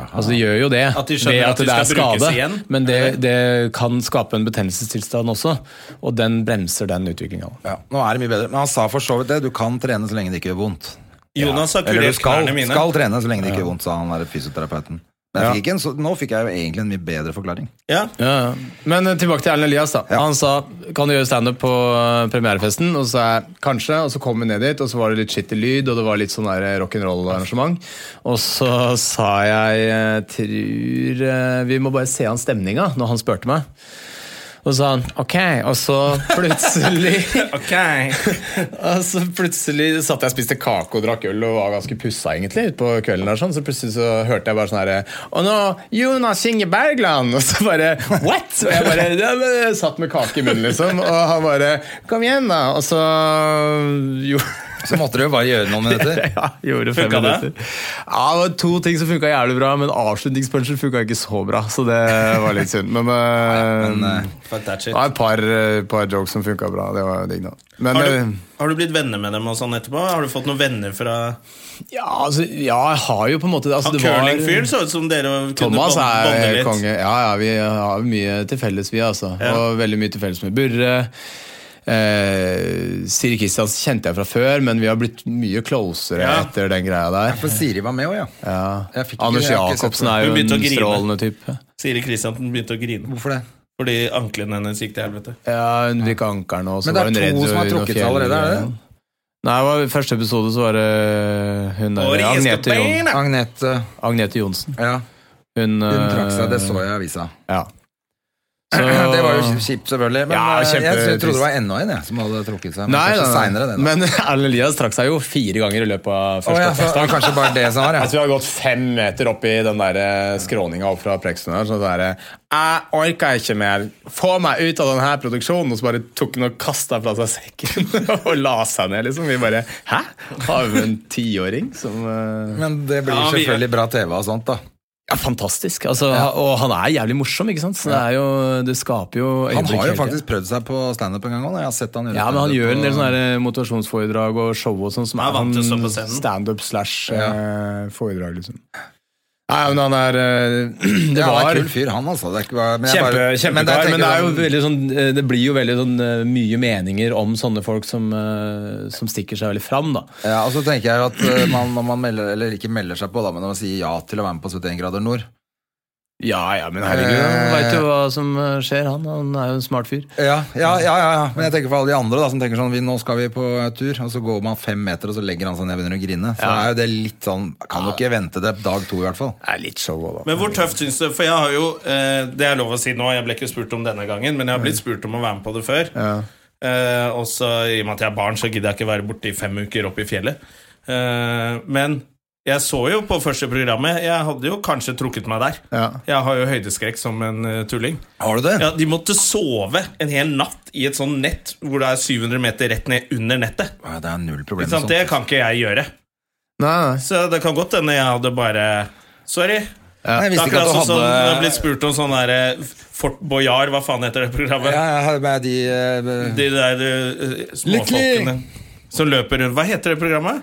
[SPEAKER 3] Altså De gjør jo det
[SPEAKER 1] At de skjønner
[SPEAKER 3] ved
[SPEAKER 1] at de
[SPEAKER 3] det er
[SPEAKER 1] skal brukes
[SPEAKER 3] skade,
[SPEAKER 1] igjen,
[SPEAKER 3] men det, det kan skape en betennelsestilstand også, og den bremser den utviklinga.
[SPEAKER 2] Ja, nå er det mye bedre. Men han sa for så vidt det. Du kan trene så lenge det ikke gjør vondt.
[SPEAKER 1] Jonas har
[SPEAKER 2] Eller du
[SPEAKER 1] kurert
[SPEAKER 2] skal,
[SPEAKER 1] knærne mine.
[SPEAKER 2] skal trene så lenge det ikke gjør vondt, sa han der fysioterapeuten. Men jeg fikk ikke en, så, nå fikk jeg jo egentlig en mye bedre forklaring.
[SPEAKER 1] Ja.
[SPEAKER 3] Ja, ja. Men eh, tilbake til Erlend Elias. da Han sa kan du gjøre standup på eh, premierefesten. Og så sa jeg kanskje, og så kom vi ned dit, og så var det litt shitty lyd, og det var litt sånn der, eh, rock'n'roll-arrangement. Og så sa jeg eh, tror eh, vi må bare se an stemninga, når han spurte meg. Og så sa han ok, og så plutselig
[SPEAKER 1] *laughs* Ok.
[SPEAKER 3] Og så plutselig satt jeg og spiste kake og drakk øl og var ganske pussa egentlig ut på kvelden. der sånn, Så plutselig så hørte jeg bare sånn herre Og nå Jonas Inge Bergland! Og så bare What?! Og jeg bare ja, men jeg satt med kake i munnen, liksom. Og han bare Kom igjen, da! Og så jo, *laughs*
[SPEAKER 2] Så måtte du jo bare gjøre noen minutter.
[SPEAKER 3] ja, gjorde fem
[SPEAKER 1] Funka det?
[SPEAKER 3] minutter. Ja, det var to ting som funka jævlig bra, men avslutningspunchen funka ikke så bra. Så det var litt synd. Men, eh,
[SPEAKER 1] Fuck that
[SPEAKER 3] det
[SPEAKER 1] shit.
[SPEAKER 3] var et par, eh, par jokes som funka bra. Det var digg, da. Men,
[SPEAKER 1] Har
[SPEAKER 3] eh,
[SPEAKER 1] du, har du blitt venner med dem og sånn etterpå? Har du fått noen venner fra
[SPEAKER 3] Ja, altså, ja, jeg har jo på en måte altså,
[SPEAKER 1] Han
[SPEAKER 3] det var-
[SPEAKER 1] curlingfyren så ut som dere kunne
[SPEAKER 3] Thomas
[SPEAKER 1] bond-
[SPEAKER 3] er
[SPEAKER 1] bonde litt.
[SPEAKER 3] konge. Ja, ja, vi har mye til felles, vi, altså.
[SPEAKER 1] Ja.
[SPEAKER 3] Og veldig mye til felles med Burre. Eh, Siri Kristiansen kjente jeg fra før, men vi har blitt mye closere
[SPEAKER 1] Ja.
[SPEAKER 3] etter den greia der.
[SPEAKER 2] *laughs* For Siri var med òg, ja. Jeg fikk ikke-
[SPEAKER 3] Anders
[SPEAKER 2] jeg har ikke sett
[SPEAKER 3] Jacobsen
[SPEAKER 2] det.
[SPEAKER 3] er jo
[SPEAKER 1] Hun
[SPEAKER 3] en
[SPEAKER 1] begynte å grine.
[SPEAKER 3] strålende type.
[SPEAKER 1] Siri Kristiansen begynte å grine
[SPEAKER 2] Hvorfor det?
[SPEAKER 1] fordi ankelen hennes gikk til helvete.
[SPEAKER 3] Ja, hun fikk ankeren, og så
[SPEAKER 2] Men det
[SPEAKER 3] var
[SPEAKER 2] er
[SPEAKER 3] hun redd.
[SPEAKER 2] to som har
[SPEAKER 3] under
[SPEAKER 2] trukket seg
[SPEAKER 3] fjell-
[SPEAKER 2] allerede, er det det?
[SPEAKER 3] Nei, det var, første episode så var det hun der,
[SPEAKER 1] Åri
[SPEAKER 3] Agnete,
[SPEAKER 1] Escobein,
[SPEAKER 3] Jon,
[SPEAKER 1] da.
[SPEAKER 2] Agnete. eh,
[SPEAKER 3] Agnete Johnsen.
[SPEAKER 2] Ja,
[SPEAKER 3] Hun, eh,
[SPEAKER 2] hun trakk seg, det så jeg i avisa.
[SPEAKER 3] Ja.
[SPEAKER 2] *clears throat* Det var jo kj- kjipt, selvfølgelig. Men
[SPEAKER 3] Ja,
[SPEAKER 2] eh, jeg
[SPEAKER 3] kjempetrist.
[SPEAKER 2] trodde det var enda en jeg, som hadde trukket seg. Men
[SPEAKER 3] Nei,
[SPEAKER 2] kanskje
[SPEAKER 3] nei,
[SPEAKER 2] senere, det,
[SPEAKER 3] nei.
[SPEAKER 2] da.
[SPEAKER 3] men *laughs* Erlend Elias trakk seg jo fire ganger i løpet av
[SPEAKER 2] Å,
[SPEAKER 3] første
[SPEAKER 2] ja, så,
[SPEAKER 3] oppdragsdag.
[SPEAKER 2] kanskje bare det som var, ja.
[SPEAKER 3] Jeg tror jeg har gått fem meter opp i den der eh, skråninga opp fra Prekstuen her. Sånn der, jeg orker ikke mer. Få meg ut av denne produksjonen! Og så bare tok han og kasta fra seg sekken *laughs* og la seg ned, liksom. Vi bare Hæ? Har vi en tiåring som eh,
[SPEAKER 2] Men det blir
[SPEAKER 1] Ja, vi-
[SPEAKER 2] selvfølgelig bra TV og sånt, da.
[SPEAKER 3] Ja, fantastisk. Altså, Og han er jævlig morsom, ikke sant? Så det, er jo, det skaper jo
[SPEAKER 2] Han
[SPEAKER 3] øyeblikk
[SPEAKER 2] har jo
[SPEAKER 3] hele tiden.
[SPEAKER 2] faktisk prøvd seg på standup en gang òg. Jeg har sett han gjøre
[SPEAKER 3] Ja, men han
[SPEAKER 2] standup
[SPEAKER 3] gjør en del
[SPEAKER 2] på-
[SPEAKER 3] sånne her, eh, motivasjonsforedrag og show og sånn, som
[SPEAKER 1] Han er vant til å stå på
[SPEAKER 3] sånn
[SPEAKER 1] scenen.
[SPEAKER 3] standup slash
[SPEAKER 2] Ja.
[SPEAKER 3] eh, foredrag, liksom. Nei, men han er eh, *clears throat* Det
[SPEAKER 2] ja, han er en
[SPEAKER 3] var
[SPEAKER 2] kul fyr, han altså. Det er ikke bare, men jeg
[SPEAKER 3] Kjempe,
[SPEAKER 2] bare-
[SPEAKER 3] kjempekar, men,
[SPEAKER 2] men jeg tenker
[SPEAKER 3] det, er jo
[SPEAKER 2] sånn-
[SPEAKER 3] veldig sånn, eh, det blir jo veldig sånn, eh, mye meninger om sånne folk som, eh, som stikker seg veldig fram, da.
[SPEAKER 2] Ja, og så tenker jeg jo at eh, man, når man melder, eller ikke melder seg på, da, men når man sier ja til å være med på 71 grader nord
[SPEAKER 3] Ja, ja, men herregud, han
[SPEAKER 2] Eh.
[SPEAKER 3] veit jo hva som eh, skjer, han. Han er jo en smart fyr.
[SPEAKER 2] Ja, ja, ja, ja, ja. Men jeg tenker for alle de andre da, som tenker sånn vi, Nå skal vi på eh, tur, og så går man fem meter, og så legger han seg ned og begynner å grine. Så
[SPEAKER 3] Ja.
[SPEAKER 2] er jo det litt sånn Kan du ikke vente til dag to, i hvert fall.
[SPEAKER 3] Det er litt show òg, da.
[SPEAKER 1] Men hvor tøft syns du For jeg har jo eh, Det er lov å si nå, jeg ble ikke spurt om denne gangen, men jeg har blitt spurt om å være med på det før. Eh, og så i og med at jeg er barn, så gidder jeg ikke være borte i fem uker oppe i fjellet. Eh, men jeg så jo på første programmet Jeg hadde jo kanskje trukket meg der.
[SPEAKER 3] Ja.
[SPEAKER 1] Jeg har jo høydeskrekk som en eh, tulling.
[SPEAKER 2] Har du det?
[SPEAKER 1] Ja, De måtte sove en hel natt i et sånn nett hvor det er 700 meter rett ned under nettet.
[SPEAKER 2] Ja, det er null
[SPEAKER 1] Ikke
[SPEAKER 2] problem. med
[SPEAKER 1] sant?
[SPEAKER 2] sånt.
[SPEAKER 1] Det kan ikke jeg gjøre.
[SPEAKER 3] Nei, nei.
[SPEAKER 1] Så det kan godt hende jeg hadde bare Sorry.
[SPEAKER 2] Nei, jeg
[SPEAKER 1] Det er
[SPEAKER 2] visste ikke
[SPEAKER 1] akkurat
[SPEAKER 2] at
[SPEAKER 1] sånn
[SPEAKER 2] du
[SPEAKER 1] som det har blitt
[SPEAKER 2] hadde
[SPEAKER 1] spurt om sånn der eh, Fort Boyard, hva faen heter det programmet?
[SPEAKER 2] Ja, ja, med de eh,
[SPEAKER 1] De der eh, småfolkene som løper rundt. Hva heter det programmet?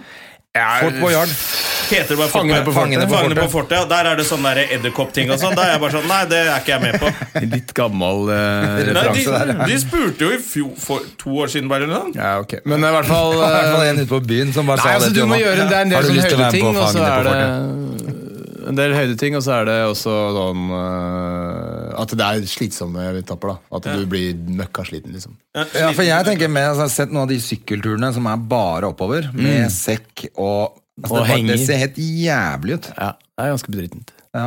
[SPEAKER 2] Fort Boyard.
[SPEAKER 1] Heter det bare
[SPEAKER 2] Fangene
[SPEAKER 1] Fort-
[SPEAKER 2] på fortet.
[SPEAKER 1] Fangene på fortet. ja. Der er det sånn der edderkoppting og sånn. Da er jeg bare sånn Nei, det er ikke jeg med på.
[SPEAKER 3] *laughs* Litt gammel eh,
[SPEAKER 1] Nei,
[SPEAKER 2] *laughs* Referanse der,
[SPEAKER 1] de,
[SPEAKER 2] ja.
[SPEAKER 1] de spurte jo i fjor, for to år siden, bare. eller noe sånt.
[SPEAKER 3] *laughs* Ja, ok. Men *laughs* i hvert fall
[SPEAKER 2] Det var i hvert fall
[SPEAKER 3] eh,
[SPEAKER 2] en ute på byen som bare
[SPEAKER 3] Nei,
[SPEAKER 2] sa det
[SPEAKER 3] altså du
[SPEAKER 2] til
[SPEAKER 3] må
[SPEAKER 2] Jonas.
[SPEAKER 3] gjøre en, det er en
[SPEAKER 2] Har
[SPEAKER 3] del
[SPEAKER 2] du
[SPEAKER 3] sånn
[SPEAKER 2] lyst til å være med
[SPEAKER 3] høydeting,
[SPEAKER 2] på
[SPEAKER 3] og så
[SPEAKER 2] Fangene på
[SPEAKER 3] er
[SPEAKER 2] fortet?
[SPEAKER 3] det en del høydeting, og så er det også sånn eh, At det er slitsomme etapper, da. At du blir møkkasliten, liksom.
[SPEAKER 2] Ja, for jeg tenker med, altså, Jeg har sett noen av de sykkelturene som er bare oppover, med sekk Mm. og altså,
[SPEAKER 3] Og
[SPEAKER 2] det, bare-
[SPEAKER 3] henger.
[SPEAKER 2] det ser helt jævlig ut.
[SPEAKER 3] Ja, det er ganske bedrittent.
[SPEAKER 2] Ja.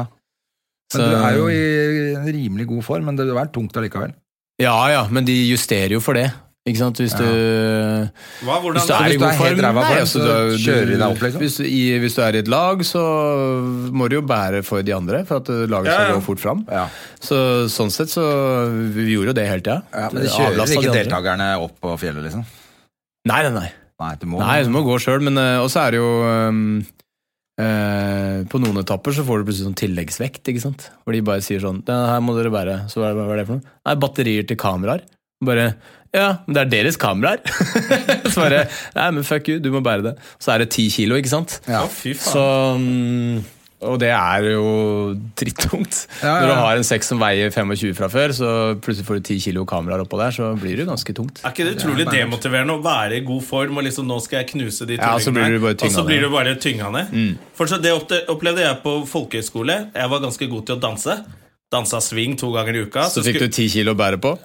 [SPEAKER 2] Men
[SPEAKER 3] Så-
[SPEAKER 2] Du er jo i en rimelig god form, men det har vært tungt allikevel.
[SPEAKER 3] Ja ja, men de justerer jo for det. Ikke sant? Hvis du
[SPEAKER 1] Hva, hvordan
[SPEAKER 3] Hvis du
[SPEAKER 1] da?
[SPEAKER 3] er
[SPEAKER 2] hvis
[SPEAKER 3] i
[SPEAKER 2] du
[SPEAKER 3] god
[SPEAKER 2] er helt
[SPEAKER 3] form,
[SPEAKER 2] ræva
[SPEAKER 3] nei,
[SPEAKER 2] form,
[SPEAKER 3] altså,
[SPEAKER 2] så
[SPEAKER 3] du-
[SPEAKER 2] kjører de deg opp, liksom.
[SPEAKER 3] Hvis du, i, hvis du er i et lag, så må du jo bære for de andre, for at uh, laget
[SPEAKER 1] Ja,
[SPEAKER 3] skal
[SPEAKER 1] ja.
[SPEAKER 3] gå fort fram.
[SPEAKER 2] Ja.
[SPEAKER 3] Så, sånn sett så Vi gjorde jo det hele tida.
[SPEAKER 2] Ja, men de kjører
[SPEAKER 3] Avlastet
[SPEAKER 2] ikke
[SPEAKER 3] de andre.
[SPEAKER 2] deltakerne opp på fjellet, liksom?
[SPEAKER 3] Nei, nei, nei.
[SPEAKER 2] Nei, du må
[SPEAKER 3] Nei, du må gå sjøl, men eh, også er det jo ehm, eh, På noen etapper så får du plutselig sånn tilleggsvekt, ikke sant? Hvor de bare sier sånn "Det Her må dere bære. Så hva er det, hva er det for noe? Nei, batterier til kameraer. Bare Ja, men det er deres kameraer! *laughs* så bare Nei, men fuck you, du må bære det. Så er det ti kilo, ikke sant?
[SPEAKER 2] Ja.
[SPEAKER 1] Å, fy faen.
[SPEAKER 3] Så mm, Og det er jo drittungt.
[SPEAKER 2] Ja, ja, ja.
[SPEAKER 3] Når du har en sekk som veier 25 fra før, så plutselig får du 10 kilo kameraer oppå der, så blir det jo ganske tungt.
[SPEAKER 1] Er ikke det utrolig demotiverende å være i god form og liksom 'nå skal jeg knuse de
[SPEAKER 3] Ja, så blir du bare
[SPEAKER 1] tullingene',
[SPEAKER 3] Mm.
[SPEAKER 1] og
[SPEAKER 3] tynga
[SPEAKER 1] så blir
[SPEAKER 3] ned.
[SPEAKER 1] du bare tynga ned? For så det opple- opplevde jeg på folkehøyskole. Jeg var ganske god til å danse. Dansa swing to ganger i uka.
[SPEAKER 3] Så fikk du
[SPEAKER 1] skulle-
[SPEAKER 3] 10 kilo å bære på?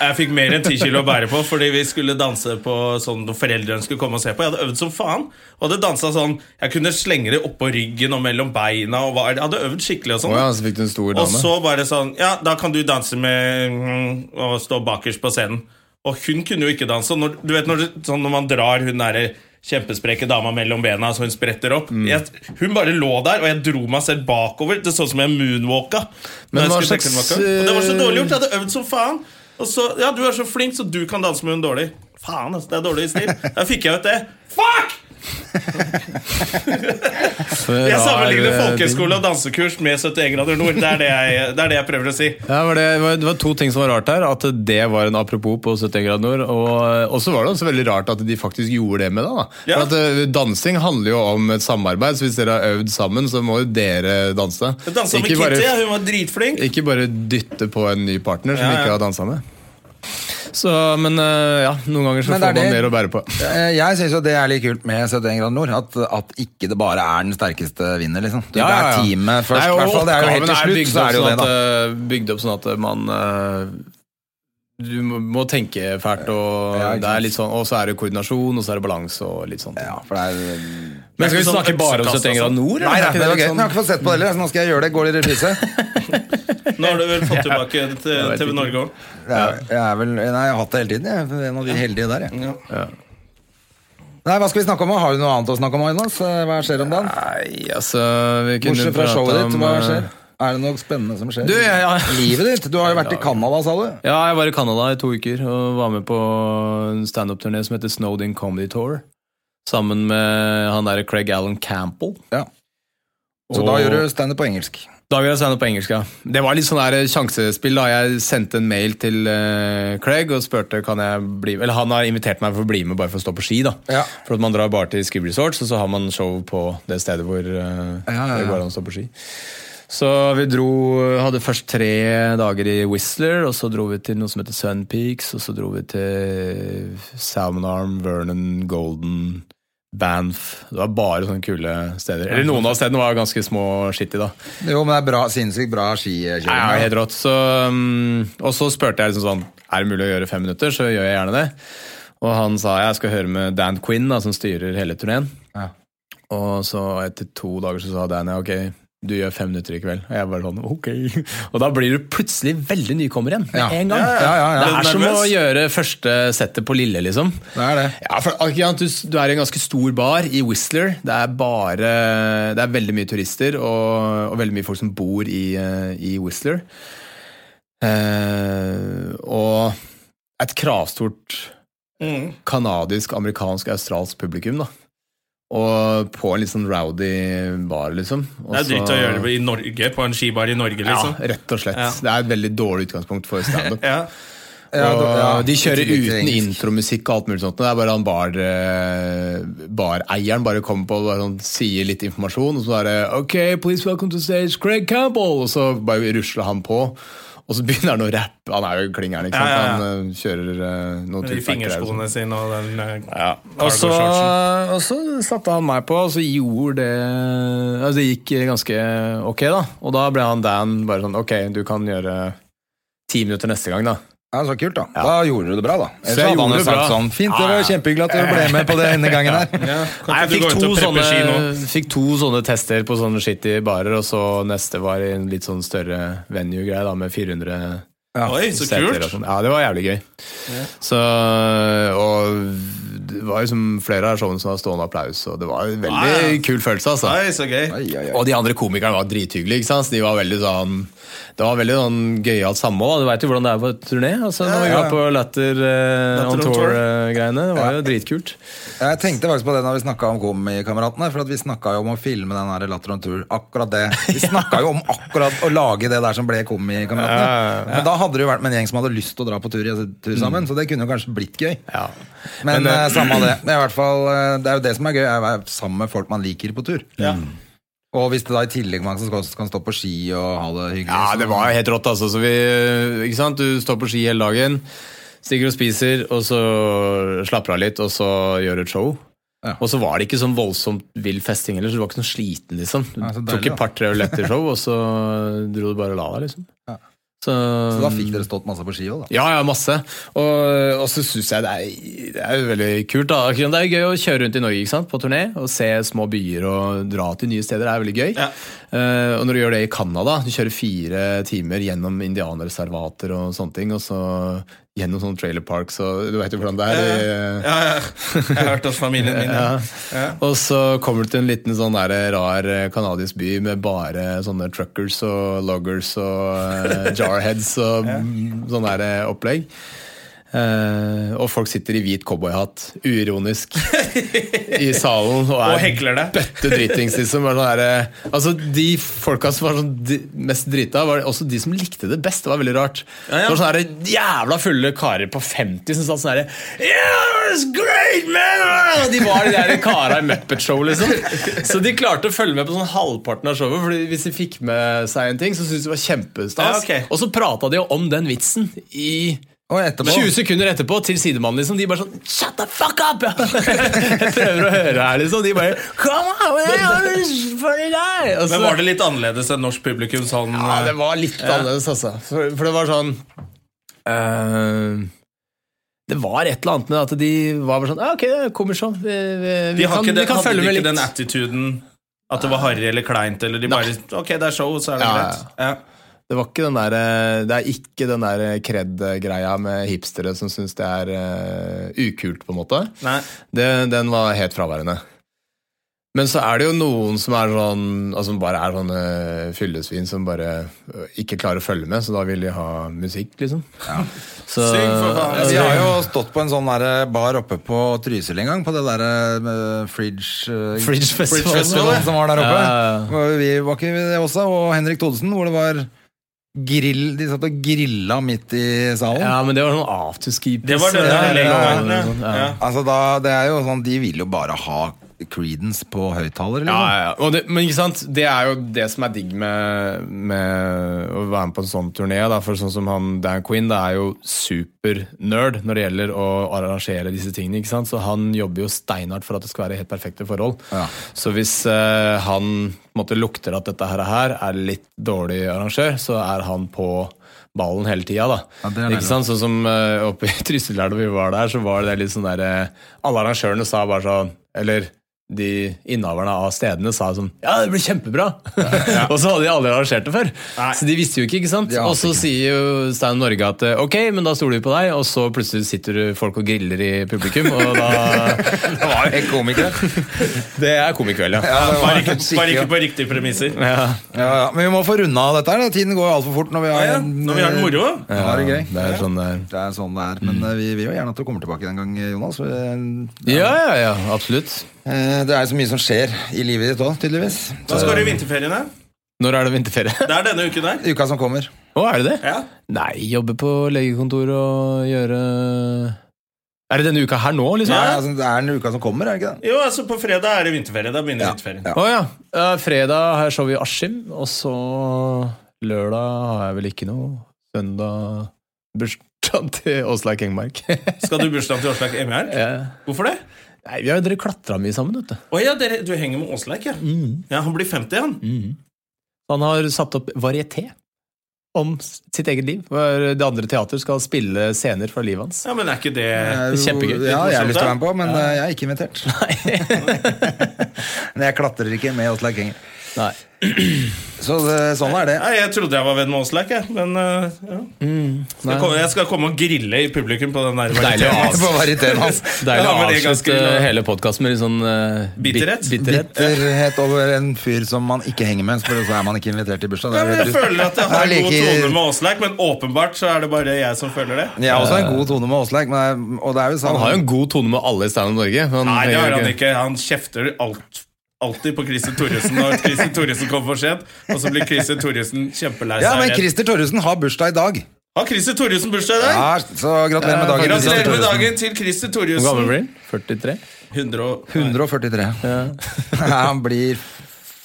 [SPEAKER 1] jeg fikk mer enn ti kilo å bære på fordi vi skulle danse på sånn når foreldrene skulle komme og se på. Jeg hadde øvd som faen. Og hadde dansa sånn Jeg kunne slenge det oppå ryggen og mellom beina. Og var, jeg hadde øvd skikkelig og sånn.
[SPEAKER 3] Å ja, så fikk du en stor
[SPEAKER 1] Og
[SPEAKER 3] dame.
[SPEAKER 1] så bare sånn Ja, da kan du danse med mm, Og stå bakerst på scenen. Og hun kunne jo ikke danse. og Når, du vet når, du, sånn, når man drar hun derre kjempesprekke dama mellom bena så hun spretter opp
[SPEAKER 3] Mm.
[SPEAKER 1] jeg, Hun bare lå der, og jeg dro meg selv bakover. Det så ut som jeg moonwalka.
[SPEAKER 3] Men
[SPEAKER 1] Når jeg
[SPEAKER 3] hva
[SPEAKER 1] skulle trekke den
[SPEAKER 3] slags,
[SPEAKER 1] bakover. Og det var så dårlig gjort. Jeg hadde øvd som faen. Og så, ja, du er så flink, så du kan danse med hun dårlig. Faen, altså, det er dårlig stil. Da fikk jeg ut det. Fuck! Jeg
[SPEAKER 3] eh,
[SPEAKER 1] sammenligner folkehøyskole og dansekurs med 71 grader nord. Det er det jeg, det er det jeg prøver å si.
[SPEAKER 3] Ja, var det, var, det var to ting som var rart her. At det var en apropos på 71 grader nord. Og, og så var det også veldig rart at de faktisk gjorde det med deg. da.
[SPEAKER 1] Ja.
[SPEAKER 3] For at eh, Dansing handler jo om et samarbeid, så hvis dere har øvd sammen, så må jo dere danse.
[SPEAKER 1] Jeg dansa med
[SPEAKER 3] Ikke bare-
[SPEAKER 1] Kitty, ja, hun var dritflink.
[SPEAKER 3] Ikke bare dytte på en ny partner som
[SPEAKER 1] Ja, ja.
[SPEAKER 3] ikke har dansa med. Så, men eh, ja, noen ganger så
[SPEAKER 2] Men det er
[SPEAKER 3] får man
[SPEAKER 2] det-
[SPEAKER 3] mer å bære på.
[SPEAKER 2] Eh, Jeg syns jo det er litt kult med 71 grader nord, at, at ikke det bare er den sterkeste vinner, liksom. Du, Det er teamet først,
[SPEAKER 3] Nei,
[SPEAKER 2] i
[SPEAKER 3] og
[SPEAKER 2] hvert fall. Det er jo helt
[SPEAKER 3] oppgaven
[SPEAKER 2] til slutt, så er
[SPEAKER 3] sånn eh, bygd
[SPEAKER 2] det jo det,
[SPEAKER 3] opp
[SPEAKER 2] da.
[SPEAKER 3] sånn at, eh, Bygd opp sånn at man eh, du må, må tenke fælt, og
[SPEAKER 2] Ja, ikke
[SPEAKER 3] det er
[SPEAKER 2] sant.
[SPEAKER 3] litt sånn, og så er det koordinasjon, og så er det balanse og litt sånn.
[SPEAKER 2] Ja, for det er
[SPEAKER 3] Men skal vi
[SPEAKER 1] Sånn
[SPEAKER 3] snakke bare om
[SPEAKER 1] øksekast
[SPEAKER 3] 71
[SPEAKER 1] og
[SPEAKER 3] grader
[SPEAKER 1] sånn.
[SPEAKER 3] nord?
[SPEAKER 2] altså? Nei,
[SPEAKER 3] eller?
[SPEAKER 2] da,
[SPEAKER 3] Er ikke
[SPEAKER 2] det var
[SPEAKER 3] litt
[SPEAKER 2] gøy.
[SPEAKER 3] sånn-
[SPEAKER 2] Jeg har ikke fått sett på det heller, så nå skal jeg gjøre det. Går det i
[SPEAKER 3] *laughs*
[SPEAKER 2] reprise?
[SPEAKER 1] Nå har du vel fått tilbake til TV Norge òg.
[SPEAKER 2] Jeg, jeg er vel, nei, jeg har hatt det hele tiden. Jeg er en av de heldige der, jeg.
[SPEAKER 3] Ja.
[SPEAKER 2] Nei, hva skal vi snakke om? Har du noe annet å snakke om, Jonas? Hva skjer om dagen?
[SPEAKER 3] Nei, altså vi kunne
[SPEAKER 2] Bortsett fra
[SPEAKER 3] prate
[SPEAKER 2] showet ditt,
[SPEAKER 3] om,
[SPEAKER 2] hva
[SPEAKER 3] eh,
[SPEAKER 2] skjer? Er det noe spennende som skjer?
[SPEAKER 3] Du, jeg- jeg-
[SPEAKER 2] Livet ditt? Du har jo vært i Canada, sa du.
[SPEAKER 3] Ja, jeg var i Canada i to uker og var med på en standup-turné som heter Snowden Comedy Tour. Sammen med han derre Craig Allen Campbell.
[SPEAKER 2] Ja. Så da gjør du standup på engelsk.
[SPEAKER 3] Da vil jeg sende på engelsk, ja. Det var litt sånn der sjansespill. da Jeg sendte en mail til eh, Craig og spurte kan jeg bli Eller han har invitert meg for å bli med bare for å stå på ski. da
[SPEAKER 2] Ja.
[SPEAKER 3] For at man drar bare til Ski Resorts, og så har man show på det stedet hvor eh,
[SPEAKER 2] Ja, ja, ja.
[SPEAKER 3] det går an å stå på ski. Så vi dro Hadde først tre dager i Whistler, og så dro vi til noe som heter Sun Peaks, og så dro vi til Salmon Arm, Vernon, Golden Banff. Det var bare sånne kule steder. Eller noen av stedene var ganske små og skittige, da.
[SPEAKER 2] Jo, men det er bra, sinnssykt bra eh, skikjøring.
[SPEAKER 3] Ja, ja, helt rått. Så, um, og så spurte jeg liksom sånn Er det mulig å gjøre fem minutter, så gjør jeg gjerne det. Og han sa jeg skal høre med Dan Quinn, da, som styrer hele turneen.
[SPEAKER 2] Ja.
[SPEAKER 3] Og så etter to dager så sa Dan ja, ok, du gjør fem minutter i kveld. Og jeg bare sånn ok. *laughs* Og da blir du plutselig veldig nykommer igjen med
[SPEAKER 2] Ja.
[SPEAKER 3] en gang.
[SPEAKER 2] Ja, ja, ja, ja.
[SPEAKER 3] Det
[SPEAKER 1] Litt
[SPEAKER 3] er som å
[SPEAKER 1] nervøs.
[SPEAKER 3] gjøre første settet på Lille, liksom.
[SPEAKER 2] Det er det.
[SPEAKER 3] Ja, for ah, ikke sant, du, du er i en ganske stor bar i Whistler. Det er bare Det er veldig mye turister og, og veldig mye folk som bor i, eh, i Whistler. Eh, og et kravstort
[SPEAKER 1] Mm.
[SPEAKER 3] kanadisk, amerikansk, australsk publikum, da. Og på en litt sånn rowdy bar, liksom. Og
[SPEAKER 1] Det er dritt
[SPEAKER 3] så-
[SPEAKER 1] å gjøre det i Norge, på en skibar i Norge, liksom.
[SPEAKER 3] Ja, rett og slett.
[SPEAKER 1] Ja.
[SPEAKER 3] Det er et veldig dårlig utgangspunkt for standup.
[SPEAKER 1] *laughs* Ja.
[SPEAKER 2] Ja,
[SPEAKER 3] og
[SPEAKER 2] da- ja,
[SPEAKER 3] de
[SPEAKER 2] i
[SPEAKER 3] kjører
[SPEAKER 2] tillegg til
[SPEAKER 3] uten
[SPEAKER 2] engelsk.
[SPEAKER 3] intromusikk og alt mulig sånt. og Det er bare han bar, eh, bareieren bare kommer på og bare sånn, sier litt informasjon, og så er det Ok, please welcome to stage Craig Campbell! Og så bare rusler han på. Og så *laughs* begynner han å rappe. Han er jo klingeren, ikke sant?
[SPEAKER 1] Ja, ja, ja.
[SPEAKER 3] Han eh, kjører
[SPEAKER 1] De
[SPEAKER 3] eh, noen tupac-greier og sånt.
[SPEAKER 1] fingerskoene sine og den eh,
[SPEAKER 3] altså. Ja. Og så,
[SPEAKER 1] cargo-shortsen.
[SPEAKER 3] og så satte han meg på, og så gjorde det altså Det gikk ganske ok, da. Og da ble han Dan bare sånn Ok, du kan gjøre ti minutter neste gang, da.
[SPEAKER 2] Ja, så kult Da Da gjorde du det bra, da. Ellers
[SPEAKER 3] jeg
[SPEAKER 2] hadde
[SPEAKER 3] gjorde
[SPEAKER 2] han jo
[SPEAKER 3] det
[SPEAKER 2] sagt
[SPEAKER 3] bra.
[SPEAKER 2] sånn Fint, det
[SPEAKER 3] Ja, ja.
[SPEAKER 2] var kjempehyggelig at du ble med på det denne gangen her.
[SPEAKER 1] Ja,
[SPEAKER 3] Nei,
[SPEAKER 1] kan
[SPEAKER 3] jeg
[SPEAKER 1] ikke
[SPEAKER 3] fikk
[SPEAKER 1] du gå
[SPEAKER 3] to,
[SPEAKER 1] ut og
[SPEAKER 3] sånne,
[SPEAKER 1] preppe ski nå?
[SPEAKER 3] fikk to sånne tester på sånne shitty barer, og så neste var i en litt sånn større venue-greie da, med 400
[SPEAKER 1] Oi, så
[SPEAKER 3] seter. og
[SPEAKER 1] kult!
[SPEAKER 3] sånn. Ja, det var jævlig gøy. Så, og det var liksom flere av showene som var stående applaus, og det var en veldig
[SPEAKER 1] Ja, ja.
[SPEAKER 3] kul følelse, altså.
[SPEAKER 1] Oi, så gøy.
[SPEAKER 2] Oi, oi, oi.
[SPEAKER 3] Og de andre komikerne var drithyggelige. ikke sant? Så De var veldig sånn, Det var veldig sånn gøyalt samhold. da. Du veit jo hvordan det er på turné. altså Når vi
[SPEAKER 2] ja,
[SPEAKER 3] var
[SPEAKER 2] ja.
[SPEAKER 3] på Latter eh,
[SPEAKER 1] Latter
[SPEAKER 3] on
[SPEAKER 1] on Tour.
[SPEAKER 3] Tour-greiene, det var jo dritkult.
[SPEAKER 2] Jeg tenkte faktisk på det når vi snakka om Komikameratene. For at vi snakka jo om å filme den her Latter on Tour. Akkurat det.
[SPEAKER 3] *laughs*
[SPEAKER 2] Vi snakka jo om akkurat å lage det der som ble Komikameratene. Men da hadde det jo vært med en gjeng som hadde lyst til å dra på tur, i- tur sammen. Så det kunne jo kanskje blitt gøy.
[SPEAKER 3] Mm. Ja.
[SPEAKER 2] Men,
[SPEAKER 3] Men, eh,
[SPEAKER 2] eh, samme av det.
[SPEAKER 3] *clears throat*
[SPEAKER 2] Det er, i hvert fall, eh, det er jo det som er gøy, er å være sammen med folk man liker på tur.
[SPEAKER 1] Ja.
[SPEAKER 2] Og hvis det da i tillegg man kan, kan stå på ski og ha det hyggelig liksom.
[SPEAKER 3] Ja,
[SPEAKER 2] så-
[SPEAKER 3] det var jo helt rått, altså. Så vi, ikke sant? Du står på ski hele dagen, stikker og spiser, og så slapper av litt, og så gjør et show.
[SPEAKER 2] Ja.
[SPEAKER 3] Og så var det ikke sånn voldsomt vill festing heller, så du var ikke sånn sliten, liksom. Du
[SPEAKER 2] Nei, så deilig,
[SPEAKER 3] tok
[SPEAKER 2] da.
[SPEAKER 3] et par-tre øl etter show, og så dro du bare og la deg, liksom.
[SPEAKER 2] Ja.
[SPEAKER 3] Så,
[SPEAKER 2] Så da fikk dere stått masse på ski òg, da.
[SPEAKER 3] Ja, ja, masse. Og, og så syns jeg det er, det er jo veldig kult. da. Ikke sant? Det er jo gøy å kjøre rundt i Norge ikke sant? på turné og se små byer og dra til nye steder. Det er veldig gøy.
[SPEAKER 1] Ja.
[SPEAKER 3] Eh, og når du gjør det i Canada, du kjører fire timer gjennom indianerreservater og sånne ting, og så gjennom sånne trailer parks og du vet jo hvordan det er. i-
[SPEAKER 1] Eh, Ja, ja. Jeg har hørt hos familien min.
[SPEAKER 3] *laughs*
[SPEAKER 1] Ja. Ja.
[SPEAKER 3] Og så kommer du til en liten sånn der rar eh, kanadisk by med bare sånne truckers og loggers og
[SPEAKER 1] *laughs*
[SPEAKER 3] eh, jarheads og mm, sånn der eh, opplegg. Eh, og folk sitter i hvit cowboyhatt,
[SPEAKER 1] *laughs*
[SPEAKER 3] uironisk, i salen og er
[SPEAKER 1] Og hekler det.
[SPEAKER 3] bøtte dritings, liksom. Bare sånn der, eh, altså, de folka som var sånn dri- mest drita, var også de som likte det best. Det var veldig rart.
[SPEAKER 1] ja.
[SPEAKER 3] Det var sånne der jævla fulle karer på 50 som satt sånn herre yeah, it's great, man! Og De var de der kara i Muppet Show, liksom. Så de klarte å følge med på sånn halvparten av showet, Fordi hvis de fikk med seg en ting, så syntes de det var
[SPEAKER 1] Ja,
[SPEAKER 3] kjempestas.
[SPEAKER 1] ok.
[SPEAKER 3] Og så prata de jo om den vitsen i
[SPEAKER 2] Og etterpå
[SPEAKER 3] 20 sekunder etterpå til sidemannen liksom De bare sånn Shut the fuck up! *laughs* Jeg prøver å høre her liksom De bare Come on, man, you're this funny guy Og så-
[SPEAKER 1] Men var det litt annerledes enn norsk publikum sånn
[SPEAKER 3] ja, det var litt annerledes, altså. For, for det var sånn Eh, det var et eller annet med at de var bare sånn «Ja, Ok, det kommer sånn. Vi, vi, vi
[SPEAKER 1] De har
[SPEAKER 3] kan,
[SPEAKER 1] ikke den,
[SPEAKER 3] vi kan
[SPEAKER 1] hadde
[SPEAKER 3] følge
[SPEAKER 1] de
[SPEAKER 3] med
[SPEAKER 1] ikke
[SPEAKER 3] litt.
[SPEAKER 1] den attituden at det var harry eller kleint, eller de bare Ok, det er show, så er det
[SPEAKER 3] Ja,
[SPEAKER 1] greit. Ja.
[SPEAKER 3] Det var ikke den der, eh, det er ikke den der kred-greia med hipstere som syns det er eh, ukult, på en måte.
[SPEAKER 1] Nei.
[SPEAKER 3] Det, den var helt fraværende. Men så er det jo noen som er sånn, altså som bare er sånne fyllesvin som bare eh, ikke klarer å følge med, så da vil de ha musikk, liksom. Så,
[SPEAKER 1] Syng for faen.
[SPEAKER 3] Ja,
[SPEAKER 2] Vi har jo stått på en sånn der bar oppe på Trysil en gang, på det der eh, Fridge, eh,
[SPEAKER 3] Fridge Festival,
[SPEAKER 2] Festival
[SPEAKER 3] ja.
[SPEAKER 2] som var der oppe.
[SPEAKER 3] Ja, ja, ja.
[SPEAKER 2] Og Vi var ikke vi det også, og Henrik Thodesen, hvor det var grill De satt og grilla midt i salen.
[SPEAKER 3] ja, men det var sånn afterski
[SPEAKER 1] Det var
[SPEAKER 2] Ja,
[SPEAKER 1] det der
[SPEAKER 2] ja, ja, ja.
[SPEAKER 1] legevagnet. Ja.
[SPEAKER 2] Altså da, det er jo sånn, De vil jo bare ha Creedence på høyttaler.
[SPEAKER 3] Ja,
[SPEAKER 2] liksom.
[SPEAKER 3] ja, ja. Og det, men ikke sant, det er jo det som er digg med, med å være med på en sånn turné. Da. For sånn som han Dan Quinn, det er jo supernerd når det gjelder å arrangere disse tingene. ikke sant? Så han jobber jo steinhardt for at det skal være helt perfekte forhold.
[SPEAKER 2] Ja.
[SPEAKER 3] Så hvis eh, han på en måte lukter at dette her, her er litt dårlig arrangør, så er han på ballen hele tida, da.
[SPEAKER 2] Ja, det er deilig.
[SPEAKER 3] ikke sant? Sånn som eh, oppe i *laughs* Trysil der da vi var der, så var det litt sånn derre Alle arrangørene sa bare sånn Eller de innehaverne av stedene sa sånn Ja, det blir kjempebra! *laughs* og så hadde de aldri arrangert det før. Så de visste jo ikke, ikke sant?
[SPEAKER 2] De ante
[SPEAKER 3] Og så
[SPEAKER 2] ikke.
[SPEAKER 3] sier jo Stein Norge at eh, ok, men da stoler vi på deg, og så plutselig sitter du- folk og griller i publikum, og da
[SPEAKER 2] Det var jo en komiker.
[SPEAKER 3] *laughs* Det er komikveld, ja.
[SPEAKER 2] Ja, Altså, det var
[SPEAKER 1] Bare ikke, bare
[SPEAKER 2] skikkelig-
[SPEAKER 1] ikke på riktige premisser.
[SPEAKER 2] Ja, ja, men vi må få runda av dette. her da. Tiden går jo altfor fort når vi har,
[SPEAKER 1] Ja, ja. Når vi har det moro.
[SPEAKER 2] Ja, det er gøy.
[SPEAKER 3] Det er sånn der.
[SPEAKER 2] Det er sånn det er. Men eh, vi vil jo gjerne at du kommer tilbake en gang, Jonas. Eh,
[SPEAKER 3] Mm. Ja, ja, ja, absolutt.
[SPEAKER 2] eh, Det er jo så mye som skjer i livet ditt òg, tydeligvis.
[SPEAKER 1] Da skal du i vinterferiene.
[SPEAKER 3] Når er det vinterferie? *laughs*
[SPEAKER 1] Det er denne uken her.
[SPEAKER 2] Uka som kommer.
[SPEAKER 3] Å, er det det?
[SPEAKER 1] Ja.
[SPEAKER 3] Nei, jobbe på legekontor og gjøre Er det denne uka her nå, liksom?
[SPEAKER 2] Nei, altså, det er den uka som kommer, er det ikke det?
[SPEAKER 1] Jo, altså på fredag er det vinterferie. Da begynner vinterferien.
[SPEAKER 2] Ja.
[SPEAKER 3] Å ja. Eh, Fredag har jeg show i Askim, og så lørdag har jeg vel ikke noe. Søndag bursdag *laughs* til Åslaug Engmark. *laughs*
[SPEAKER 1] Skal du i bursdagen til Åslaug Emjar?
[SPEAKER 3] Nei,
[SPEAKER 1] Hvorfor det?
[SPEAKER 3] vi har jo dere klatra mye sammen, vet du.
[SPEAKER 1] Å ja, dere, du henger med Åslaug, ja.
[SPEAKER 3] Mm.
[SPEAKER 1] ja. Han blir 50, han.
[SPEAKER 3] Han har satt opp varieté om s- sitt eget liv. Hvor det andre teater skal spille scener fra livet hans.
[SPEAKER 1] Ja, Men er ikke det
[SPEAKER 2] Eh,
[SPEAKER 3] Kjempegøy.
[SPEAKER 2] Ja, jeg har lyst til å være med på, men
[SPEAKER 3] Ja.
[SPEAKER 2] eh, jeg er ikke
[SPEAKER 3] *laughs*
[SPEAKER 2] invitert. *laughs* men jeg klatrer ikke med Åslaug Enger.
[SPEAKER 3] *laughs* Nei.
[SPEAKER 2] Så det, sånn er det.
[SPEAKER 1] Nei, Jeg trodde jeg var venn med Åslaug, jeg. Men eh, ja.
[SPEAKER 2] Mm,
[SPEAKER 1] jeg, kommer, jeg skal komme og grille i publikum på den der
[SPEAKER 3] Deilig å
[SPEAKER 1] varieteten.
[SPEAKER 3] avslutte,
[SPEAKER 2] På varieteten hans.
[SPEAKER 3] Deilig
[SPEAKER 1] Ja,
[SPEAKER 3] å
[SPEAKER 1] men det er
[SPEAKER 3] avslutte
[SPEAKER 1] ganske-
[SPEAKER 3] hele podkasten med litt sånn eh, bit-
[SPEAKER 1] Bitterhet.
[SPEAKER 3] bitterhet.
[SPEAKER 2] Bitterhet over en fyr som man ikke henger med, for så er man ikke invitert til bursdag. Det
[SPEAKER 1] Ja,
[SPEAKER 2] er
[SPEAKER 1] men
[SPEAKER 2] helt
[SPEAKER 1] jeg
[SPEAKER 2] ut.
[SPEAKER 1] føler at jeg
[SPEAKER 2] Det
[SPEAKER 1] har
[SPEAKER 2] er
[SPEAKER 1] en god
[SPEAKER 2] like-
[SPEAKER 1] tone med Åslaug, men åpenbart så er det bare jeg som føler det.
[SPEAKER 2] Jeg har også en god tone med Åslaug, men jeg- og det er jo sånn
[SPEAKER 3] Han har jo en god tone med alle i Stand Up Norge. men
[SPEAKER 1] Nei, det har
[SPEAKER 3] trenger
[SPEAKER 1] han
[SPEAKER 3] jo
[SPEAKER 1] ikke. Han kjefter alt, alltid på Christer Thoresen når Christer Thoresen kommer for sent. Og så blir Christer Thoresen kjempelei seg.
[SPEAKER 2] Ja, men
[SPEAKER 1] redd.
[SPEAKER 2] Christer Torjussen har bursdag i dag.
[SPEAKER 1] Har Christer Thoresen bursdag i dag?
[SPEAKER 2] Ja, så gratulerer med dagen. Christer
[SPEAKER 1] Gratulerer med
[SPEAKER 2] Thoresen.
[SPEAKER 1] dagen til Christer
[SPEAKER 3] Hvor gammel
[SPEAKER 1] Thoresen.
[SPEAKER 3] blir han? 43?
[SPEAKER 1] 100 og...
[SPEAKER 2] 143. *laughs* Han blir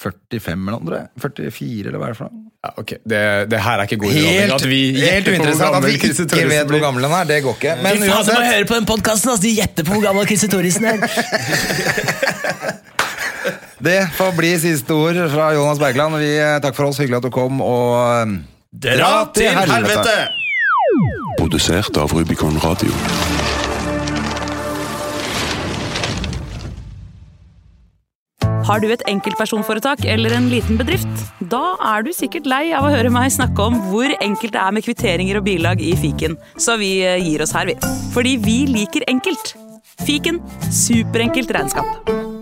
[SPEAKER 2] 45 eller noe, tror jeg. 44 eller hva er det for noe?
[SPEAKER 3] Ja, ok. Det, det her er ikke god underholdning. At vi gjetter
[SPEAKER 2] helt
[SPEAKER 3] på hvor
[SPEAKER 2] uinteressant at
[SPEAKER 3] gammel
[SPEAKER 2] vi
[SPEAKER 3] Christer
[SPEAKER 2] ikke vet
[SPEAKER 3] Thoresen blir.
[SPEAKER 2] hvor gammel han er. Det går ikke. Men uansett,
[SPEAKER 4] høre på den podkasten, altså! De gjetter på hvor gammel Christer Thoresen er.
[SPEAKER 2] det får bli siste ord fra Jonas Bergland. Vi, eh, takk for oss, hyggelig at du kom, og eh,
[SPEAKER 1] Dra til helvete!
[SPEAKER 5] Produsert av Rubicon Radio.
[SPEAKER 6] Har du et enkeltpersonforetak eller en liten bedrift? Da er du sikkert lei av å høre meg snakke om hvor enkelt det er med kvitteringer og bilag i fiken, så vi eh, gir oss her, vi. Fordi vi liker enkelt. Fiken superenkelt regnskap.